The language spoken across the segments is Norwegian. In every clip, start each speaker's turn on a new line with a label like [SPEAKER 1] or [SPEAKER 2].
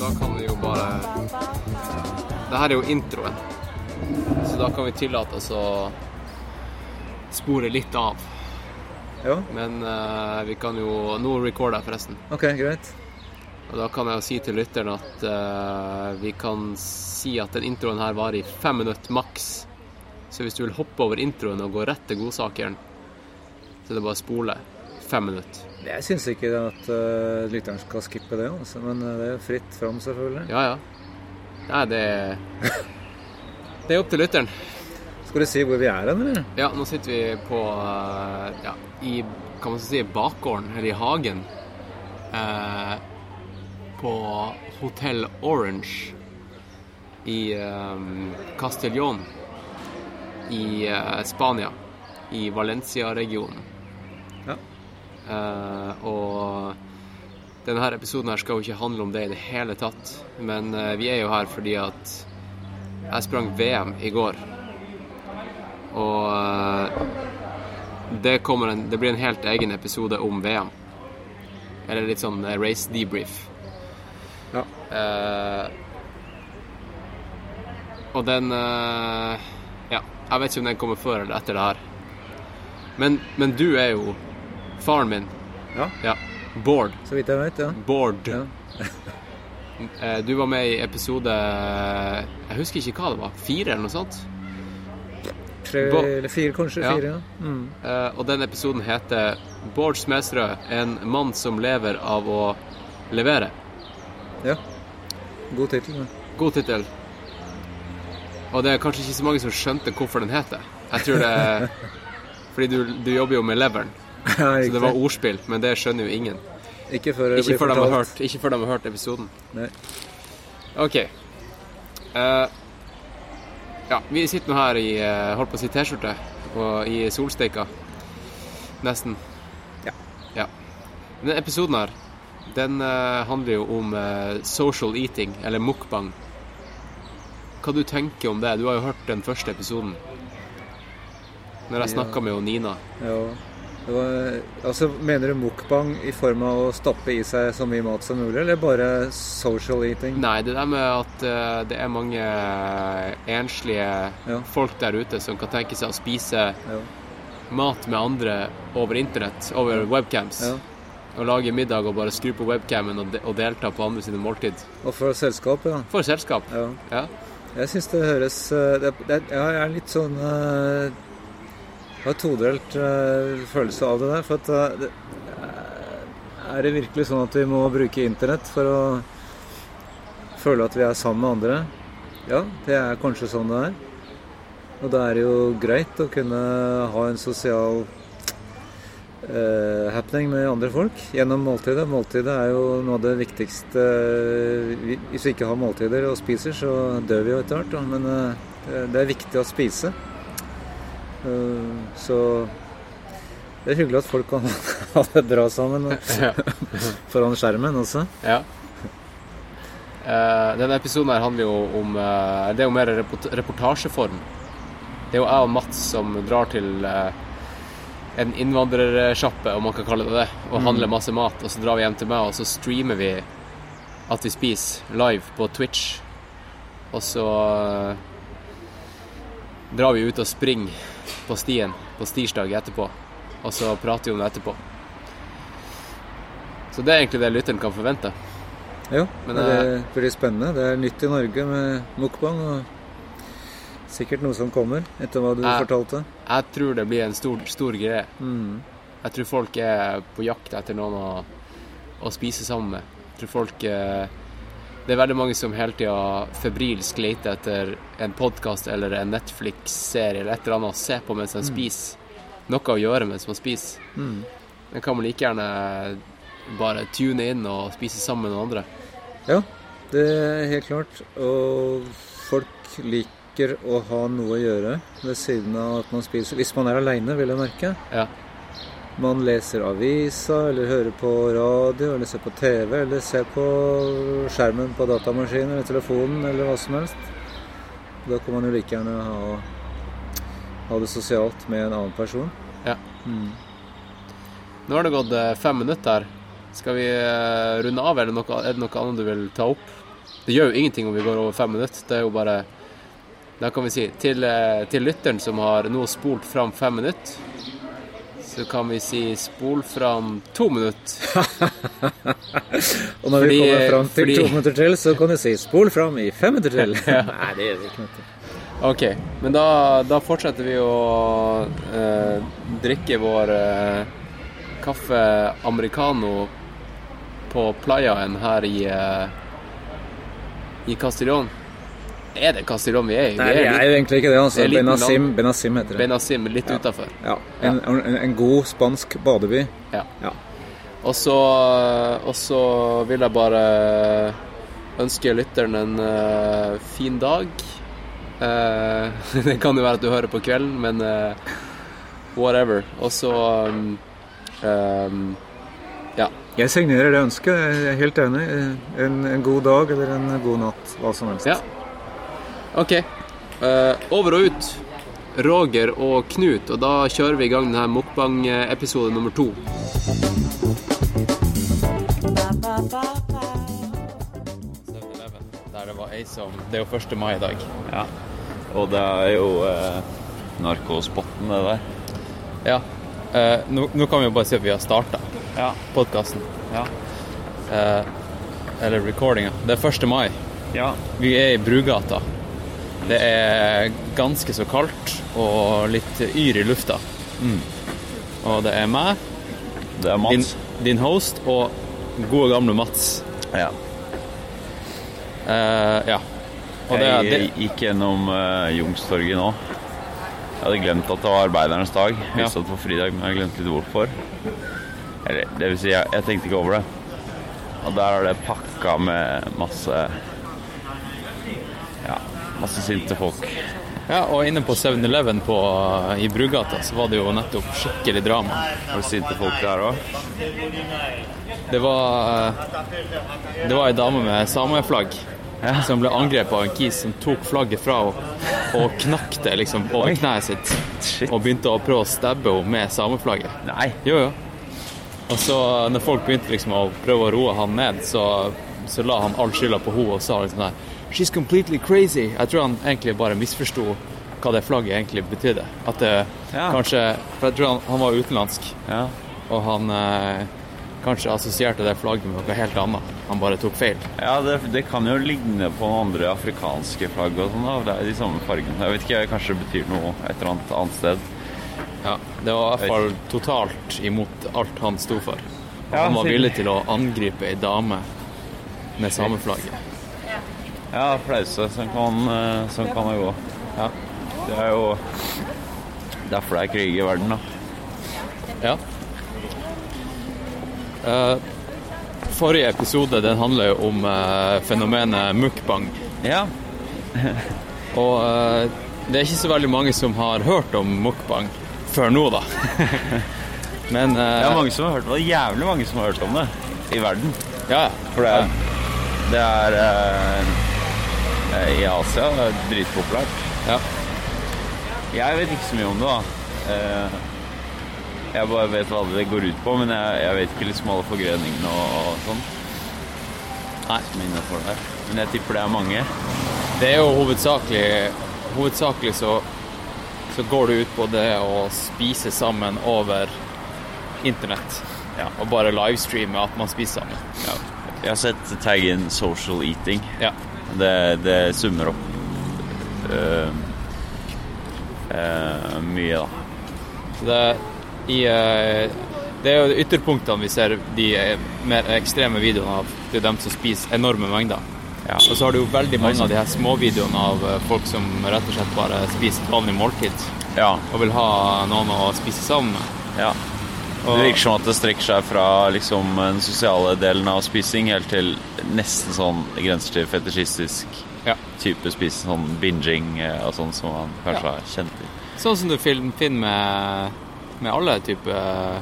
[SPEAKER 1] Da kan vi jo bare Det her er jo introen, så da kan vi tillate oss å spore litt av.
[SPEAKER 2] Ja,
[SPEAKER 1] Men eh, vi kan jo Nå recorder jeg forresten.
[SPEAKER 2] ok, greit.
[SPEAKER 1] Og da kan jeg jo si til lytteren at eh, vi kan si at den introen her varer i fem minutter maks. Så hvis du vil hoppe over introen og gå rett til godsakeren, så er det bare å spole fem minutter.
[SPEAKER 2] Jeg syns ikke at eh, lytteren skal skippe det, altså, men eh, det er jo fritt fram, selvfølgelig.
[SPEAKER 1] Ja, ja. Nei, det Det er opp til lytteren.
[SPEAKER 2] Skal du si hvor vi er hen, eller?
[SPEAKER 1] Ja, nå sitter vi på eh, ja, i kan man si bakgården, eller i hagen, eh, på Hotell Orange i eh, Castellón i eh, Spania, i Valencia-regionen.
[SPEAKER 2] Ja.
[SPEAKER 1] Eh, og denne her episoden her skal jo ikke handle om det i det hele tatt, men eh, vi er jo her fordi at jeg sprang VM i går. Og eh, det, kommer en, det blir en helt egen episode om VM. Eller litt sånn eh, race debrief.
[SPEAKER 2] Ja.
[SPEAKER 1] Eh, og den eh, Ja, jeg vet ikke om den kommer før eller etter det her. Men, men du er jo faren min.
[SPEAKER 2] Ja.
[SPEAKER 1] Bård.
[SPEAKER 2] Så vidt jeg vet, ja.
[SPEAKER 1] Bård.
[SPEAKER 2] ja.
[SPEAKER 1] Eh, Du var med i episode Jeg husker ikke hva det var. Fire, eller noe sånt.
[SPEAKER 2] Tre
[SPEAKER 1] Bo-
[SPEAKER 2] eller fire, kanskje.
[SPEAKER 1] Ja.
[SPEAKER 2] Fire, ja. Mm.
[SPEAKER 1] Eh, Og den episoden heter 'Bård Smedsrød en mann som lever av å levere'.
[SPEAKER 2] ja. God tittel. Ja.
[SPEAKER 1] God tittel. Og det er kanskje ikke så mange som skjønte hvorfor den heter. Jeg tror det er Fordi du, du jobber jo med leveren,
[SPEAKER 2] Ja,
[SPEAKER 1] så det
[SPEAKER 2] riktig.
[SPEAKER 1] var ordspill, men det skjønner jo ingen.
[SPEAKER 2] Ikke før det
[SPEAKER 1] Ikke
[SPEAKER 2] blir
[SPEAKER 1] før de har
[SPEAKER 2] fortalt.
[SPEAKER 1] hørt, ikke før de har hørt episoden.
[SPEAKER 2] Nei.
[SPEAKER 1] OK. Eh, ja, vi sitter nå her i eh, holdt på å si T-skjorte og i solsteika. Nesten.
[SPEAKER 2] Ja.
[SPEAKER 1] ja. Denne episoden her, den eh, handler jo om eh, social eating, eller mukbang. Hva du tenker om det? Du har jo hørt den første episoden. Når jeg
[SPEAKER 2] Ja.
[SPEAKER 1] snakka med jo Nina.
[SPEAKER 2] Ja. Det var, altså, mener du mukbang i form av å stappe i seg så mye mat som mulig, eller bare social eating?
[SPEAKER 1] Nei, det der med at eh, det er mange eh, enslige
[SPEAKER 2] Ja.
[SPEAKER 1] folk der ute som kan tenke seg å spise
[SPEAKER 2] Ja.
[SPEAKER 1] mat med andre over internett, over webcams.
[SPEAKER 2] ja.
[SPEAKER 1] Og lage middag og bare skru på webcamen og, de og delta på andre sine måltid.
[SPEAKER 2] Og for selskap, ja.
[SPEAKER 1] For selskap.
[SPEAKER 2] ja.
[SPEAKER 1] Ja.
[SPEAKER 2] Jeg syns det høres eh, det, det, ja, Jeg er litt sånn eh, Jeg har todelt eh, følelse av det der. For at eh, det, eh, Er det virkelig sånn at vi må bruke internett for å føle at vi er sammen med andre? Ja, det er kanskje sånn det er. Og da er det jo greit å kunne ha en sosial eh, happening med andre folk gjennom måltidet. Måltidet er jo noe av det viktigste eh, vi, Hvis vi ikke har måltider og spiser, så dør vi jo etter hvert. da. Men eh, det- det er viktig å spise. Eh, så det er hyggelig at folk kan ha det bra sammen og-
[SPEAKER 1] ja.
[SPEAKER 2] foran skjermen også.
[SPEAKER 1] ja. Eh, denne episoden her handler jo om eh, Det er jo mer report reportasjeform. Det er jo jeg og Mats som drar til eh, en innvandrersjappe, om man kan kalle det det, og handler masse mat. Og så drar vi hjem til meg, og så streamer vi at vi spiser live på Twitch. Og så eh, drar vi ut og springer på stien på stirsdag etterpå. Og så prater vi om det etterpå. Så det er egentlig det lytteren kan forvente.
[SPEAKER 2] Jo,
[SPEAKER 1] Men, eh,
[SPEAKER 2] det blir spennende. Det er nytt i Norge med mukbang. og Sikkert noe som kommer, etter hva du
[SPEAKER 1] Ja.
[SPEAKER 2] fortalte.
[SPEAKER 1] Jeg tror det blir en stor, stor greie.
[SPEAKER 2] Mm.
[SPEAKER 1] Jeg tror folk er på jakt etter noen å, å spise sammen med. Jeg tror folk eh, Det er veldig mange som hele tida febrilsk leter etter en podkast eller en Netflix-serie eller et eller annet å se på mens de spiser. Noe å gjøre mens man spiser.
[SPEAKER 2] Mm.
[SPEAKER 1] Men kan man like gjerne bare tune inn og spise sammen med noen andre?
[SPEAKER 2] Ja, det er helt klart. Og folk liker å ha noe å gjøre ved siden av at man spiser. Hvis man er aleine, vil jeg merke.
[SPEAKER 1] Ja.
[SPEAKER 2] Man leser avisa, eller hører på radio, eller ser på TV, eller ser på skjermen på datamaskinen eller telefonen, eller hva som helst. Da kan man jo like gjerne ha, ha det sosialt med en annen person.
[SPEAKER 1] Ja.
[SPEAKER 2] Mm.
[SPEAKER 3] Nå har det gått eh, fem minutter. Skal vi eh, runde av, eller noe, er det noe annet du vil ta opp? Det gjør jo ingenting om vi går over fem minutter. Det er jo bare Da kan vi si til, eh, til lytteren som har nå spolt fram fem minutter, så kan vi si spol fram to minutter.
[SPEAKER 2] Og når
[SPEAKER 3] Fordi-
[SPEAKER 2] vi kommer fram til
[SPEAKER 3] fordi-
[SPEAKER 2] to minutter til, så kan du si 'spol fram i fem minutter til'. Nei, det gjør vi ikke. vet du.
[SPEAKER 3] OK. Men da, da fortsetter vi å eh, drikke vår eh, kaffe americano på playaen her i, eh, i Castillon. Er det Castillon vi er i?
[SPEAKER 2] Nei, vi er jo egentlig ikke det.
[SPEAKER 3] Det er
[SPEAKER 2] altså.
[SPEAKER 3] en liten
[SPEAKER 2] Benazim,
[SPEAKER 3] land.
[SPEAKER 2] Benazim heter
[SPEAKER 3] litt
[SPEAKER 2] det.
[SPEAKER 3] Benazim, litt utafor.
[SPEAKER 2] Ja, en, en, en god spansk badeby.
[SPEAKER 3] Ja.
[SPEAKER 2] Ja.
[SPEAKER 3] Og så, og så vil jeg bare ønske lytteren en eh, fin dag. Eh, det kan jo være at du hører på kvelden, men eh, whatever. Og så um, um, Ja.
[SPEAKER 2] Jeg signerer det ønsket. Jeg er helt enig. En, en god dag eller en god natt. Hva som helst.
[SPEAKER 3] ja. OK. Eh, over og ut. Roger og Knut, og da kjører vi i gang denne mukbang-episode nummer to. Der det var ei som Det er jo 1. mai i dag.
[SPEAKER 4] Ja. Og det er jo eh, narkospotten, det der.
[SPEAKER 3] Ja. Eh, nå, nå kan vi jo bare si at vi har starta
[SPEAKER 4] Ja.
[SPEAKER 3] podkasten.
[SPEAKER 4] Ja.
[SPEAKER 3] Eh, Eller recordinga. Det er 1. mai.
[SPEAKER 4] ja.
[SPEAKER 3] Vi er i Brugata. Det er ganske så kaldt og litt yr i lufta. Mm. Og det er meg,
[SPEAKER 4] Det er
[SPEAKER 3] din,
[SPEAKER 4] Mats.
[SPEAKER 3] din host og gode gamle Mats.
[SPEAKER 4] Ja.
[SPEAKER 3] Eh, ja. Og det, er-
[SPEAKER 4] jeg
[SPEAKER 3] det,
[SPEAKER 4] gikk gjennom eh, Youngstorget nå. Jeg hadde glemt at det var arbeidernes dag. Jeg visste at det var fridag, men jeg glemte litt hvorfor. Eller, det vil si, jeg, jeg tenkte ikke over det. Og der er det pakka med masse Ja, masse sinte folk.
[SPEAKER 3] ja, og inne på 7-Eleven på- i Brugata så var det jo nettopp skikkelig drama.
[SPEAKER 4] Var det sinte folk der òg?
[SPEAKER 3] Det var eh, Det var ei dame med sameflagg som ble angrepet av en kis som tok flagget fra henne og knakk det liksom over kneet sitt.
[SPEAKER 4] Shit.
[SPEAKER 3] Og begynte å prøve å stabbe henne med sameflagget.
[SPEAKER 4] Nei.
[SPEAKER 3] Jo, jo. Og så når folk begynte liksom å prøve å roe han ned, så, så la han all skylda på henne og sa liksom der She's completely crazy. Jeg tror han egentlig bare misforsto hva det flagget egentlig betydde. At det
[SPEAKER 4] Ja.
[SPEAKER 3] kanskje For jeg tror han, han var utenlandsk.
[SPEAKER 4] Ja.
[SPEAKER 3] Og han eh, kanskje assosierte det flagget med noe helt annet. Han bare tok feil.
[SPEAKER 4] Ja, det, det kan jo ligne på noen andre afrikanske flagg og sånn. da, Det er de samme fargene. Jeg vet ikke, kanskje det betyr noe et eller annet annet sted.
[SPEAKER 3] Ja, Det var i hvert fall totalt imot alt han sto for. Og
[SPEAKER 4] Ja,
[SPEAKER 3] han var
[SPEAKER 4] siden-
[SPEAKER 3] villig til å angripe ei dame med sameflagget.
[SPEAKER 4] Ja, flause. Sånn kan, eh, sånn kan det gå. Ja. Det er jo derfor det er krig i verden, da.
[SPEAKER 3] Ja. Eh, forrige episode den handler jo om eh, fenomenet mukbang.
[SPEAKER 4] Ja.
[SPEAKER 3] Og eh, det er ikke så veldig mange som har hørt om mukbang før nå, da. Men eh,
[SPEAKER 4] Det er mange som har hørt om det. er Jævlig mange som har hørt om det i verden.
[SPEAKER 3] ja,
[SPEAKER 4] For det er, det er eh, i Asia det er dritpopulært.
[SPEAKER 3] ja.
[SPEAKER 4] Jeg vet ikke så mye om det, da. Eh, Jeg bare vet hva det går ut på, men jeg, jeg vet ikke liksom alle forgreningene og, og sånn. Nei, som er innenfor det. Men jeg tipper det er mange.
[SPEAKER 3] Det er jo hovedsakelig Hovedsakelig så, så går det ut på det å spise sammen over internett.
[SPEAKER 4] Ja.
[SPEAKER 3] Og bare livestreame at man spiser sammen.
[SPEAKER 4] Jeg har sett taggen 'social eating'.
[SPEAKER 3] Ja.
[SPEAKER 4] Det, det summer opp eh, eh, mye, da.
[SPEAKER 3] Så det, i, eh, det er jo ytterpunktene vi ser de eh, mer ekstreme videoene av. Det er dem som spiser enorme mengder.
[SPEAKER 4] Ja.
[SPEAKER 3] Og så har du jo veldig mange av de her småvideoene av eh, folk som rett og slett bare spiser et vanlig måltid
[SPEAKER 4] ja.
[SPEAKER 3] og vil ha noen å spise sammen med.
[SPEAKER 4] ja. Det virker som at det strekker seg fra liksom, den sosiale delen av spising helt til nesten sånn grenser til fetisjistisk
[SPEAKER 3] Ja.
[SPEAKER 4] type spise sånn binging eh, og sånn som man kanskje har kjent til.
[SPEAKER 3] Sånn som du film- finner med, med alle typer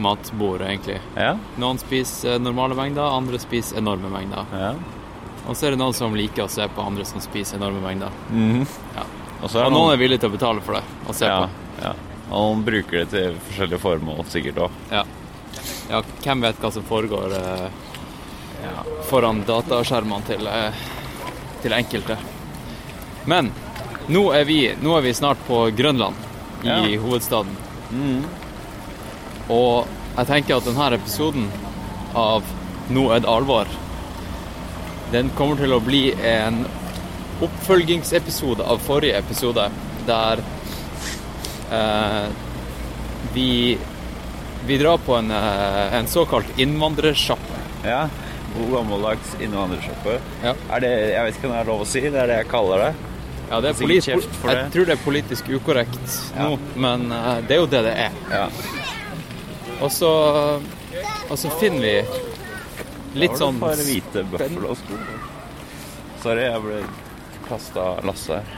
[SPEAKER 3] matbord, egentlig.
[SPEAKER 4] Ja,
[SPEAKER 3] Noen spiser eh, normale mengder, andre spiser enorme mengder.
[SPEAKER 4] ja.
[SPEAKER 3] Og så er det noen som liker å se på andre som spiser enorme mengder.
[SPEAKER 4] Mhm.
[SPEAKER 3] Ja.
[SPEAKER 4] Og så er
[SPEAKER 3] Og
[SPEAKER 4] det
[SPEAKER 3] noen
[SPEAKER 4] noen
[SPEAKER 3] er villige til å betale for det og se
[SPEAKER 4] ja,
[SPEAKER 3] på.
[SPEAKER 4] ja. Og man bruker det til forskjellige formål sikkert òg.
[SPEAKER 3] Ja. ja, hvem vet hva som foregår eh, foran dataskjermene til, eh, til enkelte. Men nå er, vi, nå er vi snart på Grønland, i
[SPEAKER 4] Ja.
[SPEAKER 3] hovedstaden. Og jeg tenker at denne episoden av Nå er det alvor, den kommer til å bli en oppfølgingsepisode av forrige episode, der eh, vi vi drar på en, eh, en såkalt innvandrersjappe.
[SPEAKER 4] Ja. God gammeldags innvandrersjappe.
[SPEAKER 3] Ja.
[SPEAKER 4] Er det Jeg vet ikke om det er lov å si, det er det jeg kaller det.
[SPEAKER 3] Ja, det er
[SPEAKER 4] Sikkert
[SPEAKER 3] polit
[SPEAKER 4] kjeft for
[SPEAKER 3] jeg
[SPEAKER 4] det.
[SPEAKER 3] tror det er politisk ukorrekt
[SPEAKER 4] Ja.
[SPEAKER 3] nå, men eh, det er jo det det er.
[SPEAKER 4] Ja.
[SPEAKER 3] Og så, og så finner vi litt
[SPEAKER 4] Har du
[SPEAKER 3] sånn
[SPEAKER 4] et par hvite buffalo-sko. Sorry, jeg ble kasta av Lasse her.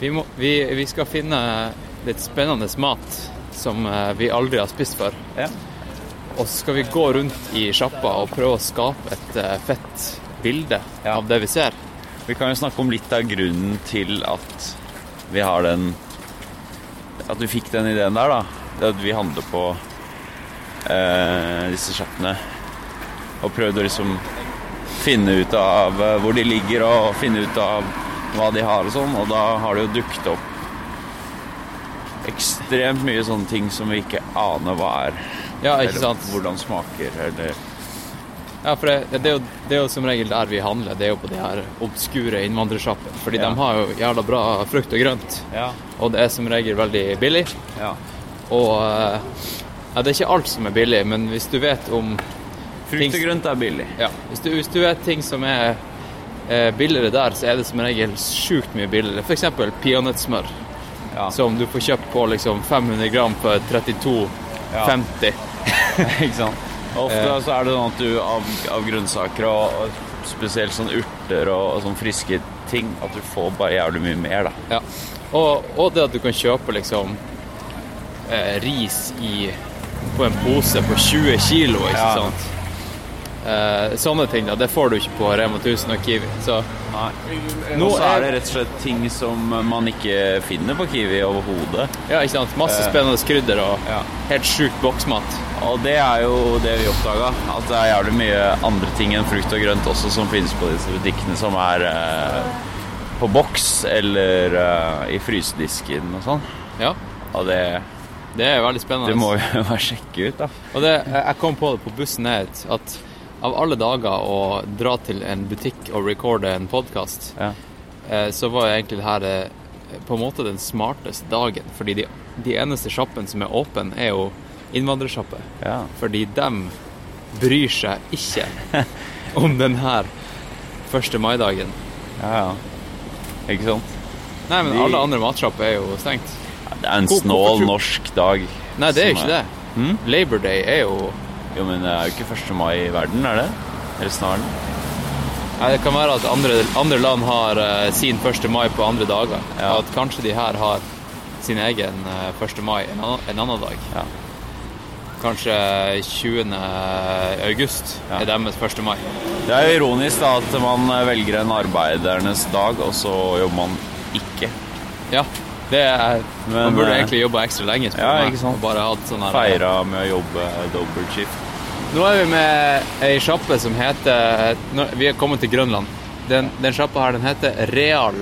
[SPEAKER 3] vi, må, vi, vi skal finne litt spennende mat som eh, vi aldri har spist før.
[SPEAKER 4] Ja.
[SPEAKER 3] Og så skal vi gå rundt i sjappa og prøve å skape et eh, fett bilde
[SPEAKER 4] Ja.
[SPEAKER 3] av det vi ser.
[SPEAKER 4] Vi kan jo snakke om litt av grunnen til at vi har den At vi fikk den ideen der, da. Det at vi handler på eh, disse sjappene. Og prøvd å liksom finne ut av eh, hvor de ligger, og finne ut av hva de har og sånn. Og da har det jo dukket opp ekstremt mye sånne ting som vi ikke aner hva er.
[SPEAKER 3] Ja, ikke
[SPEAKER 4] eller
[SPEAKER 3] sant?
[SPEAKER 4] hvordan smaker, eller
[SPEAKER 3] Ja, for det, det, er jo, det er jo som regel der vi handler, det er jo på de her obskure innvandrersjappene. Fordi
[SPEAKER 4] Ja.
[SPEAKER 3] de har jo jævla bra frukt og grønt,
[SPEAKER 4] Ja.
[SPEAKER 3] og det er som regel veldig billig.
[SPEAKER 4] ja.
[SPEAKER 3] Og eh, ja, det er ikke alt som er billig, men hvis du vet om
[SPEAKER 4] Frukt og
[SPEAKER 3] Ting-
[SPEAKER 4] grønt er billig.
[SPEAKER 3] Ja, hvis du, hvis du vet ting som er eh, billigere der, så er det som regel sjukt mye billigere. F.eks. peanøttsmør,
[SPEAKER 4] Ja.
[SPEAKER 3] som du får kjøpt på liksom 500 gram for 32,50.
[SPEAKER 4] Ikke sant? Og Ofte
[SPEAKER 3] Eh.
[SPEAKER 4] så er det sånn at du av, av grønnsaker og, og spesielt sånn urter og, og sånn friske ting, at du får bare jævlig mye mer, da.
[SPEAKER 3] Ja. Og, og det at du kan kjøpe liksom eh, ris i, på en pose på 20 kilo, ikke
[SPEAKER 4] Ja.
[SPEAKER 3] sant? Eh, sånne ting, da. Det får du ikke på Rema 1000 og Kiwi. Så Nå
[SPEAKER 4] Nå og så
[SPEAKER 3] er-
[SPEAKER 4] er det rett og slett ting som man ikke finner på Kiwi overhodet.
[SPEAKER 3] ja, ikke sant.
[SPEAKER 4] Eh.
[SPEAKER 3] Masse spennende krydder og
[SPEAKER 4] Ja.
[SPEAKER 3] helt sjukt boksmat.
[SPEAKER 4] Og det er jo det vi oppdaga, at det er jævlig mye andre ting enn frukt og grønt også som finnes på disse butikkene som er eh, på boks eller eh, i frysedisken og sånn.
[SPEAKER 3] Ja,
[SPEAKER 4] Og det,
[SPEAKER 3] det er veldig spennende.
[SPEAKER 4] det må vi jo bare sjekke ut, da.
[SPEAKER 3] Og det, jeg jeg kom på det på bussen ned, at av alle dager å dra til en butikk og recorde en podkast,
[SPEAKER 4] Ja.
[SPEAKER 3] eh, så var jo egentlig det her eh, på en måte den smarteste dagen. Fordi de, de eneste sjappene som er åpne, er jo innvandrersjappe.
[SPEAKER 4] Ja.
[SPEAKER 3] Fordi dem bryr seg ikke om den her 1. mai-dagen.
[SPEAKER 4] ja, ja. Ikke sant?
[SPEAKER 3] Nei, men
[SPEAKER 4] De-
[SPEAKER 3] alle andre matsjapper er jo stengt.
[SPEAKER 4] Det er en
[SPEAKER 3] Hvor- hvorfor
[SPEAKER 4] snål
[SPEAKER 3] tror-
[SPEAKER 4] norsk dag.
[SPEAKER 3] Nei, det er jo
[SPEAKER 4] som Hm?
[SPEAKER 3] ikke det. Labor Day er jo
[SPEAKER 4] Jo, men det er jo ikke 1. mai i verden, er det? Eller snaren?
[SPEAKER 3] Nei, Det kan være at andre, andre land har eh, sin 1. mai på andre dager.
[SPEAKER 4] Ja.
[SPEAKER 3] Og at kanskje de her har sin egen eh, 1. mai en annen, en annen dag.
[SPEAKER 4] Ja.
[SPEAKER 3] Kanskje 20. august
[SPEAKER 4] Ja.
[SPEAKER 3] er deres 1. mai.
[SPEAKER 4] Det er jo ironisk da at man eh, velger en arbeidernes dag, og så jobber man ikke.
[SPEAKER 3] Ja, det er,
[SPEAKER 4] Men,
[SPEAKER 3] man burde
[SPEAKER 4] eh,
[SPEAKER 3] egentlig jobba ekstra lenge. spør
[SPEAKER 4] ja,
[SPEAKER 3] du meg,
[SPEAKER 4] ikke sant.
[SPEAKER 3] og Bare hatt sånn her
[SPEAKER 4] Feira med å jobbe dobbeltskift.
[SPEAKER 3] Nå er vi med ei sjappe som heter nå, Vi er kommet til Grønland. Den, den sjappa her den heter Real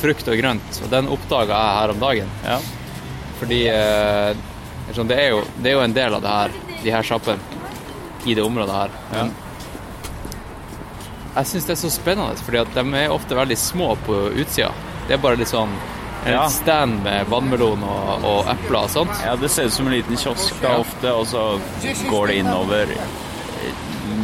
[SPEAKER 3] frukt og grønt, og den oppdaga jeg her om dagen.
[SPEAKER 4] Ja.
[SPEAKER 3] Fordi eh, sånn, det, er jo, det er jo en del av det her, de her sjappene i det området her. Men jeg syns det er så spennende, fordi at de er ofte veldig små på utsida. Det er bare litt sånn en
[SPEAKER 4] Ja.
[SPEAKER 3] stand med vannmelon og, og epler og sånt.
[SPEAKER 4] ja, det ser ut som en liten kiosk da
[SPEAKER 3] Ja.
[SPEAKER 4] ofte, og så går det innover eh,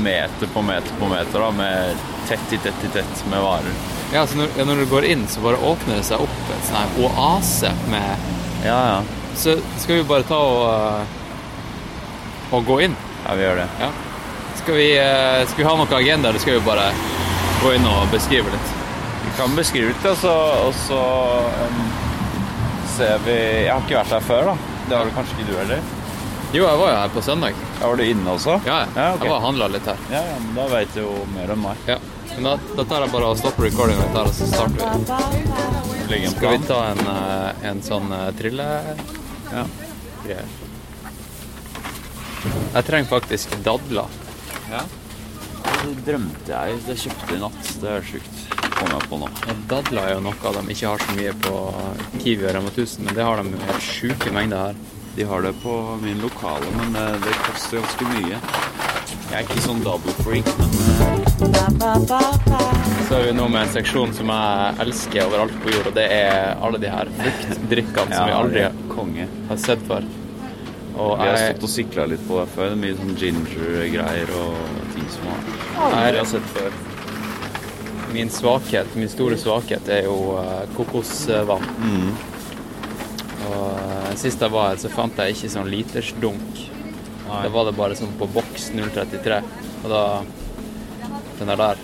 [SPEAKER 4] meter på meter på meter da, med tett i tett i tett med varer.
[SPEAKER 3] Ja, så når, ja, når du går inn, så bare åpner det seg opp en sånn her oase med
[SPEAKER 4] Ja, ja.
[SPEAKER 3] Så skal vi bare ta og, eh, og gå inn.
[SPEAKER 4] Ja, vi gjør det.
[SPEAKER 3] Ja. Skal vi, eh, skal vi ha noen agenda, eller skal vi bare gå inn og beskrive litt?
[SPEAKER 4] Vi kan beskrive litt, altså, og så um, ser vi Jeg har ikke vært her før, da. Det har du kanskje ikke du heller?
[SPEAKER 3] Jo, jeg var jo her på søndag.
[SPEAKER 4] Ja, Var du inne også?
[SPEAKER 3] Ja, jeg,
[SPEAKER 4] Ja, ok.
[SPEAKER 3] jeg var og handla litt her.
[SPEAKER 4] ja, ja men da veit du jo mer enn meg.
[SPEAKER 3] Ja. Men da, da tar jeg bare og stopper recordinga litt her, og så starter vi.
[SPEAKER 4] Legg en
[SPEAKER 3] Skal vi
[SPEAKER 4] plan.
[SPEAKER 3] ta en, eh, en sånn eh, trille... Ja. Greier. Jeg trenger faktisk dadler.
[SPEAKER 4] Ja. Så drømte jeg Det kjøpte jeg i natt. Det er sjukt. Kom jeg på nå.
[SPEAKER 3] Og dadler er jo noe de ikke har så mye på Kiwi og Rema 1000, men det har de jo helt sjuke mengder her.
[SPEAKER 4] De har det på min lokale, men eh, det koster ganske mye. Jeg er ikke sånn double freak, men
[SPEAKER 3] Så er vi nå med en seksjon som jeg elsker overalt på jord, og det er alle de her fruktdrikkene som vi aldri
[SPEAKER 4] er konge.
[SPEAKER 3] har sett før. Og
[SPEAKER 4] Vi har
[SPEAKER 3] jeg,
[SPEAKER 4] stått og sykla litt på det før. Det er Mye sånn ginger-greier og ting som har
[SPEAKER 3] Nei,
[SPEAKER 4] aldri
[SPEAKER 3] det-
[SPEAKER 4] har sett før.
[SPEAKER 3] altså, min svakhet, min store svakhet, er jo eh, kokosvann.
[SPEAKER 4] Mm.
[SPEAKER 3] Og eh, sist jeg var her, så fant jeg ikke sånn litersdunk. Da var det bare sånn på boks 033. Og da Den er der.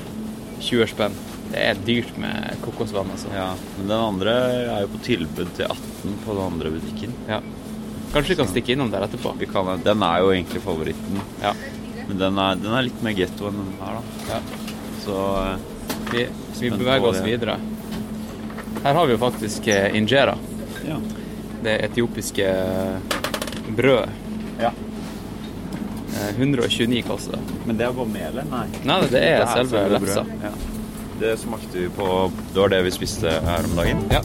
[SPEAKER 3] 20 spenn. Det er dyrt med kokosvann, altså.
[SPEAKER 4] Ja, Men den andre er jo på tilbud til 18 på den andre butikken.
[SPEAKER 3] Ja. Kanskje vi kan stikke innom der etterpå.
[SPEAKER 4] Vi kan, den er jo egentlig favoritten,
[SPEAKER 3] Ja.
[SPEAKER 4] men den er, den er litt mer getto enn den her, da.
[SPEAKER 3] ja.
[SPEAKER 4] Så eh,
[SPEAKER 3] Vi, vi
[SPEAKER 4] Spent
[SPEAKER 3] beveger
[SPEAKER 4] på
[SPEAKER 3] oss
[SPEAKER 4] det.
[SPEAKER 3] videre. Her har vi jo faktisk eh, injera.
[SPEAKER 4] ja.
[SPEAKER 3] Det etiopiske brødet.
[SPEAKER 4] ja.
[SPEAKER 3] Eh, 129 koster det.
[SPEAKER 4] Men det er bare melet? Nei.
[SPEAKER 3] Nei, det er
[SPEAKER 4] her
[SPEAKER 3] selve
[SPEAKER 4] brødet.
[SPEAKER 3] lefsa.
[SPEAKER 4] Ja. Det smakte vi på Det var det vi spiste her om dagen.
[SPEAKER 3] Ja.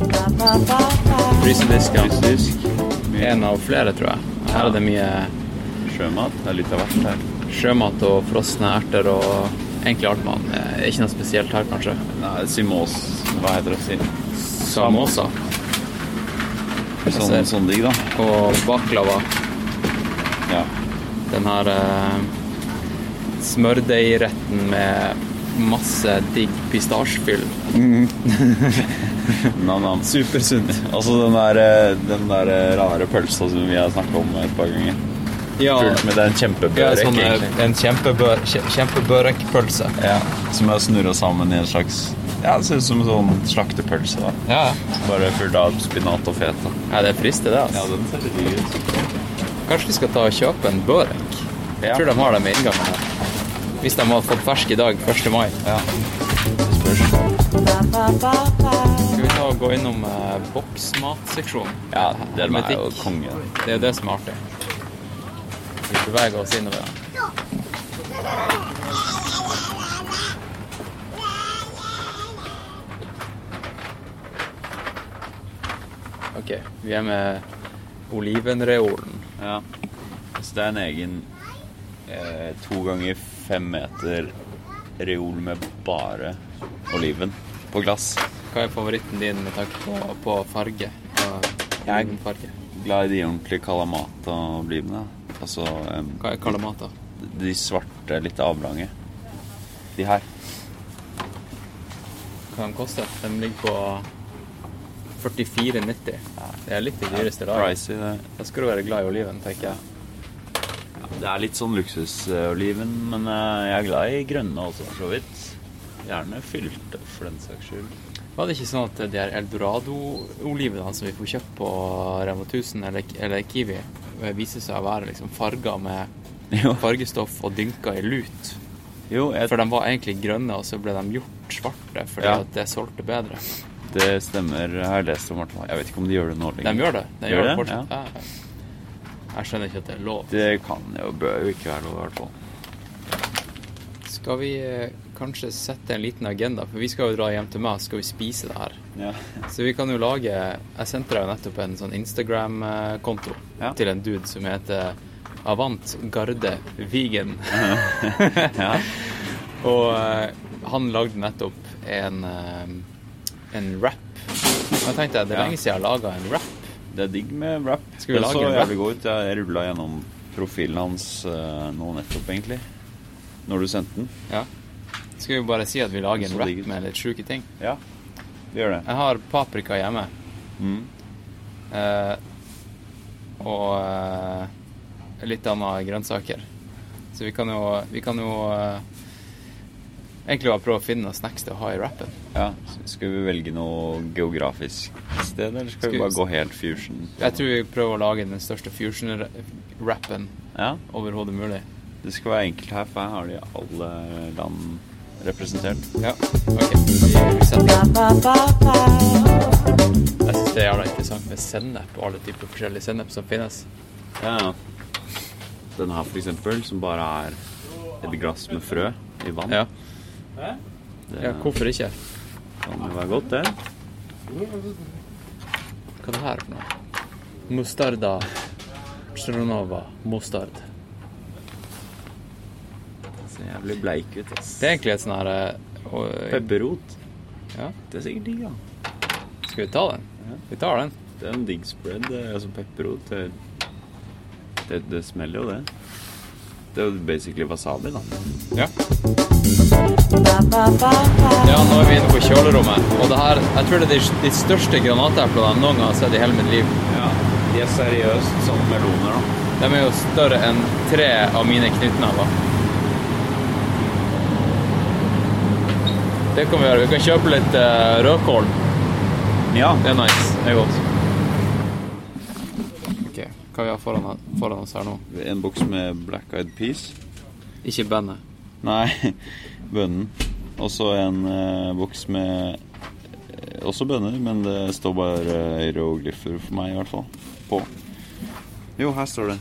[SPEAKER 3] Frysediskene.
[SPEAKER 4] Russisk. Mye
[SPEAKER 3] En av flere, tror jeg. Her er det mye
[SPEAKER 4] sjømat. Det er litt av hvert her.
[SPEAKER 3] sjømat og frosne erter og egentlig alt man eh, Ikke noe spesielt her, kanskje.
[SPEAKER 4] Nei, Simos Hva heter det? Sim-
[SPEAKER 3] Samosa
[SPEAKER 4] Sånn, sånn digg, da.
[SPEAKER 3] og baklava.
[SPEAKER 4] Ja.
[SPEAKER 3] Den her eh, smørdeigretten med masse digg pistasjefyll.
[SPEAKER 4] Nam, nam. Supersunt. Altså den der, eh, den der eh, rare pølsa som vi har snakka om et par ganger.
[SPEAKER 3] Ja,
[SPEAKER 4] Fullt med den
[SPEAKER 3] ja
[SPEAKER 4] kjempebørek,
[SPEAKER 3] sånn, eh,
[SPEAKER 4] egentlig.
[SPEAKER 3] en kjempebø- kje- kjempebørekpølse.
[SPEAKER 4] Ja, som er snurra sammen i en slags Ja, det ser ut som en sånn slaktepølse. da
[SPEAKER 3] Ja, ja.
[SPEAKER 4] Bare fullt av spinat og feta.
[SPEAKER 3] Nei, det frister, det. altså.
[SPEAKER 4] den ser litt digg ut.
[SPEAKER 3] Kanskje vi skal ta og kjøpe en børek? Jeg
[SPEAKER 4] Ja.
[SPEAKER 3] tror de har dem i inngangen her. Hvis de hadde fått fersk i dag, 1. mai.
[SPEAKER 4] Ja. Det spørs.
[SPEAKER 3] Skal vi ta og gå innom eh, boksmatseksjonen?
[SPEAKER 4] Ja, den er jo
[SPEAKER 3] Hermetikk.
[SPEAKER 4] konge.
[SPEAKER 3] Det er jo det som er artig. Vi beveger oss innover. Ok, vi er med olivenreolen.
[SPEAKER 4] Ja. Så det er en egen eh, to ganger fem meter reol med bare oliven på glass.
[SPEAKER 3] Hva er favoritten din med tanke på, på farge? På
[SPEAKER 4] Jeg-
[SPEAKER 3] olivenfarge?
[SPEAKER 4] Glad i de ordentlige kalamata-olivene. Altså em,
[SPEAKER 3] Hva er kalamata?
[SPEAKER 4] de svarte, litt avlange. De her.
[SPEAKER 3] Hva de koster? De ligger på 44,90. Det er litt det dyreste i dag.
[SPEAKER 4] Pricey. Det.
[SPEAKER 3] Da skal du være glad i oliven, tenker jeg.
[SPEAKER 4] Det er litt sånn luksusoliven, men eh, jeg er glad i grønne også, for så vidt. Gjerne fylte, for den saks skyld.
[SPEAKER 3] Var det ikke sånn at de her eldorado-olivene som vi får kjøpt på Rema 1000 eller, eller Kiwi, eh, viser seg å være liksom farga med
[SPEAKER 4] Jo,
[SPEAKER 3] fargestoff og dynka i lut?
[SPEAKER 4] jo jeg,
[SPEAKER 3] For de var egentlig grønne, og så ble de gjort svarte fordi
[SPEAKER 4] Ja.
[SPEAKER 3] at det solgte bedre.
[SPEAKER 4] det stemmer. Jeg har lest om Martin. Jeg vet ikke om de gjør det nå
[SPEAKER 3] De
[SPEAKER 4] lenger.
[SPEAKER 3] gjør det. De
[SPEAKER 4] Gjør
[SPEAKER 3] gjør det
[SPEAKER 4] det?
[SPEAKER 3] fortsatt. Ja. Jeg skjønner ikke at det er lov.
[SPEAKER 4] Det kan jo, bør jo ikke være lov, i hvert fall.
[SPEAKER 3] Skal vi eh, kanskje sette en liten agenda, for vi skal jo dra hjem til meg, så skal vi spise det her.
[SPEAKER 4] Ja.
[SPEAKER 3] Så vi kan jo lage Jeg sendte deg jo nettopp en sånn Instagram-konto
[SPEAKER 4] Ja.
[SPEAKER 3] til en dude som heter Avant Garde Vegan. Og eh, han lagde nettopp en, eh, en rap. Da tenkte jeg det er
[SPEAKER 4] Ja.
[SPEAKER 3] lenge siden jeg har laga en rap.
[SPEAKER 4] Det er digg med rap.
[SPEAKER 3] Skal vi
[SPEAKER 4] det
[SPEAKER 3] lage
[SPEAKER 4] så
[SPEAKER 3] en rap?
[SPEAKER 4] jævlig god ut. Jeg rulla gjennom profilen hans eh, nå nettopp, egentlig. Når du sendte den.
[SPEAKER 3] Ja. Skal vi bare si at vi lager
[SPEAKER 4] Så
[SPEAKER 3] en rap
[SPEAKER 4] digg ut.
[SPEAKER 3] med litt sjuke ting?
[SPEAKER 4] Ja, vi gjør det.
[SPEAKER 3] Jeg har paprika hjemme.
[SPEAKER 4] Mm.
[SPEAKER 3] eh, og eh, litt andre grønnsaker. Så vi kan jo, vi kan jo eh, egentlig bare prøve å finne noen snacks til å ha i rappen.
[SPEAKER 4] Ja, s- Skal vi velge noe geografisk sted, eller skal,
[SPEAKER 3] Skal vi-
[SPEAKER 4] vi bare gå helt fusion?
[SPEAKER 3] Jeg tror vi prøver å lage den største fusion-rappen
[SPEAKER 4] Ja,
[SPEAKER 3] overhodet mulig.
[SPEAKER 4] Det skal være enkelt her, for her har de alle land representert.
[SPEAKER 3] Ja, ok. Vi setter den. Jeg synes det er jævla interessant med sennep og alle typer forskjellige sennep som finnes.
[SPEAKER 4] Ja, ja. Den her, for eksempel, som bare er et glass med frø i vann.
[SPEAKER 3] Ja,
[SPEAKER 4] Det
[SPEAKER 3] ja hvorfor ikke?
[SPEAKER 4] kan jo være godt, det.
[SPEAKER 3] Hva er det her for noe? Mustarda Stronova mustard.
[SPEAKER 4] Ser jævlig bleik ut, ass.
[SPEAKER 3] Det er egentlig et sånn her eh, og-
[SPEAKER 4] Pepperrot.
[SPEAKER 3] Ja.
[SPEAKER 4] Det er sikkert digg, da.
[SPEAKER 3] Skal vi ta den? Vi tar den.
[SPEAKER 4] Det er en digg spread. det er Altså pepperrot. Det, det, det smeller jo, det. Det er jo basically wasabi, da.
[SPEAKER 3] Ja. Ja, nå er vi inne på kjølerommet. Og det her, jeg tror det er de, de største granateplene jeg noen gang har sett i hele mitt liv.
[SPEAKER 4] Ja. De er seriøst sånne meloner, da.
[SPEAKER 3] De er jo større enn tre av mine knyttnever. Det kan vi gjøre. Vi kan kjøpe litt eh, rødkål.
[SPEAKER 4] Ja.
[SPEAKER 3] Det er nice. Det er godt. Ok, hva vi har foran, foran oss her nå?
[SPEAKER 4] En boks med black eyed peas.
[SPEAKER 3] Ikke bandet.
[SPEAKER 4] Nei, bønnen. Og så en eh, boks med eh, også bønner, men det står bare uh, hieroglyfer for meg, i hvert fall. På. Jo, her står det.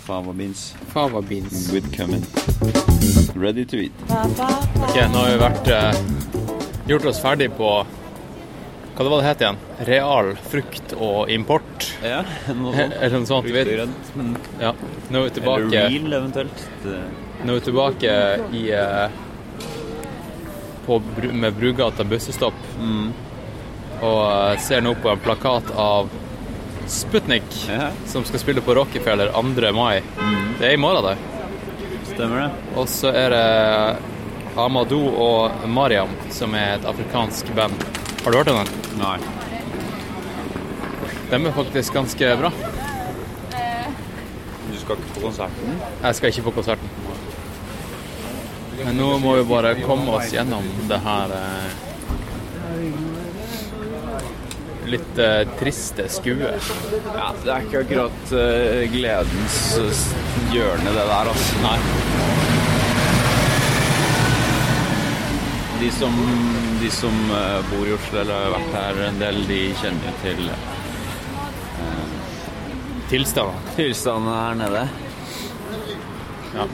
[SPEAKER 4] Fava beans
[SPEAKER 3] Fava beans.
[SPEAKER 4] with cumin. Ready to eat.
[SPEAKER 3] Ok, nå har vi vært eh, gjort oss ferdig på Hva det var det het igjen? Real frukt og import?
[SPEAKER 4] Ja, noe
[SPEAKER 3] Eller noe sånt. Vi, vet-
[SPEAKER 4] Grønt, men
[SPEAKER 3] ja. Nå er vi
[SPEAKER 4] eller
[SPEAKER 3] tilbake,
[SPEAKER 4] real, eventuelt. Det,
[SPEAKER 3] nå er vi tilbake i eh, på, Bru- med Brugata bussestopp.
[SPEAKER 4] Mm.
[SPEAKER 3] Og eh, ser nå på en plakat av Sputnik,
[SPEAKER 4] Ja. Mm.
[SPEAKER 3] som skal spille på Rockefeller 2. mai. Det er i morgen, det.
[SPEAKER 4] stemmer det?
[SPEAKER 3] Og så er det Amadou og Mariam, som er et afrikansk band. Har du hørt om dem?
[SPEAKER 4] Nei.
[SPEAKER 3] De er faktisk ganske bra.
[SPEAKER 4] Du skal ikke på konserten?
[SPEAKER 3] Jeg skal ikke på konserten. Men nå må vi bare komme oss gjennom det her eh, litt eh, triste skuet.
[SPEAKER 4] Ja, det er ikke akkurat eh, gledens eh, hjørne, det der, altså.
[SPEAKER 3] Nei.
[SPEAKER 4] De som, de som eh, bor i Oslo eller har vært her en del, de kjenner jo til
[SPEAKER 3] Tilstander.
[SPEAKER 4] tilstandene her nede.
[SPEAKER 3] Ja.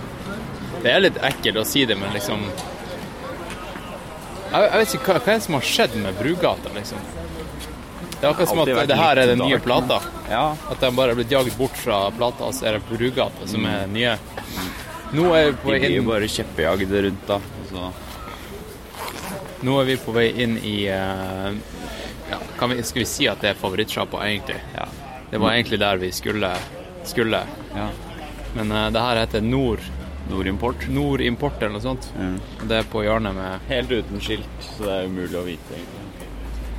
[SPEAKER 3] Det er litt ekkelt å si det, men liksom Jeg, jeg vet ikke hva, hva er det som har skjedd med Brugata, liksom. Det er akkurat som at
[SPEAKER 4] Alltid vært
[SPEAKER 3] det her er den
[SPEAKER 4] litt sånn
[SPEAKER 3] nye
[SPEAKER 4] dark,
[SPEAKER 3] plata.
[SPEAKER 4] Ja.
[SPEAKER 3] At de bare er blitt jaget bort fra plata, og så er det Brugata som er nye. Nå er vi
[SPEAKER 4] De
[SPEAKER 3] på
[SPEAKER 4] blir jo
[SPEAKER 3] inn,
[SPEAKER 4] bare kjeppejagd rundt, da. Så.
[SPEAKER 3] nå er vi på vei inn i eh, ja, kan vi, Skal vi si at det er favorittsjappa, egentlig?
[SPEAKER 4] Ja.
[SPEAKER 3] Det var egentlig der vi skulle. skulle.
[SPEAKER 4] ja.
[SPEAKER 3] Men eh, det her heter Nord,
[SPEAKER 4] Nordimport.
[SPEAKER 3] Nord Import eller noe sånt.
[SPEAKER 4] Mm.
[SPEAKER 3] Og Det er på hjørnet med
[SPEAKER 4] Helt uten skilt, så det er umulig å vite, egentlig.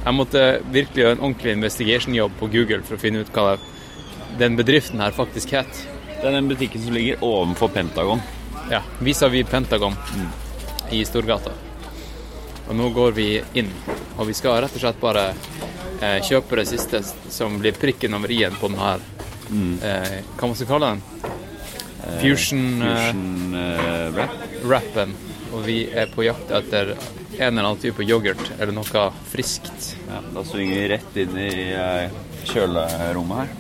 [SPEAKER 3] Jeg måtte virkelig gjøre en ordentlig investigation-jobb på Google for å finne ut hva den bedriften her faktisk het.
[SPEAKER 4] Det er den butikken som ligger ovenfor Pentagon.
[SPEAKER 3] Ja, vis-à-vis Pentagon i Storgata. Og nå går vi inn, og vi skal rett og slett bare eh, kjøpe det siste s- som blir prikken over i-en på den her. Eh, hva man skal kalle den? Fusion-rappen.
[SPEAKER 4] Fusion eh, Wrap.
[SPEAKER 3] og vi er på jakt etter en eller annen type yoghurt eller noe friskt.
[SPEAKER 4] Ja, da svinger vi rett inn i eh, kjølerommet her.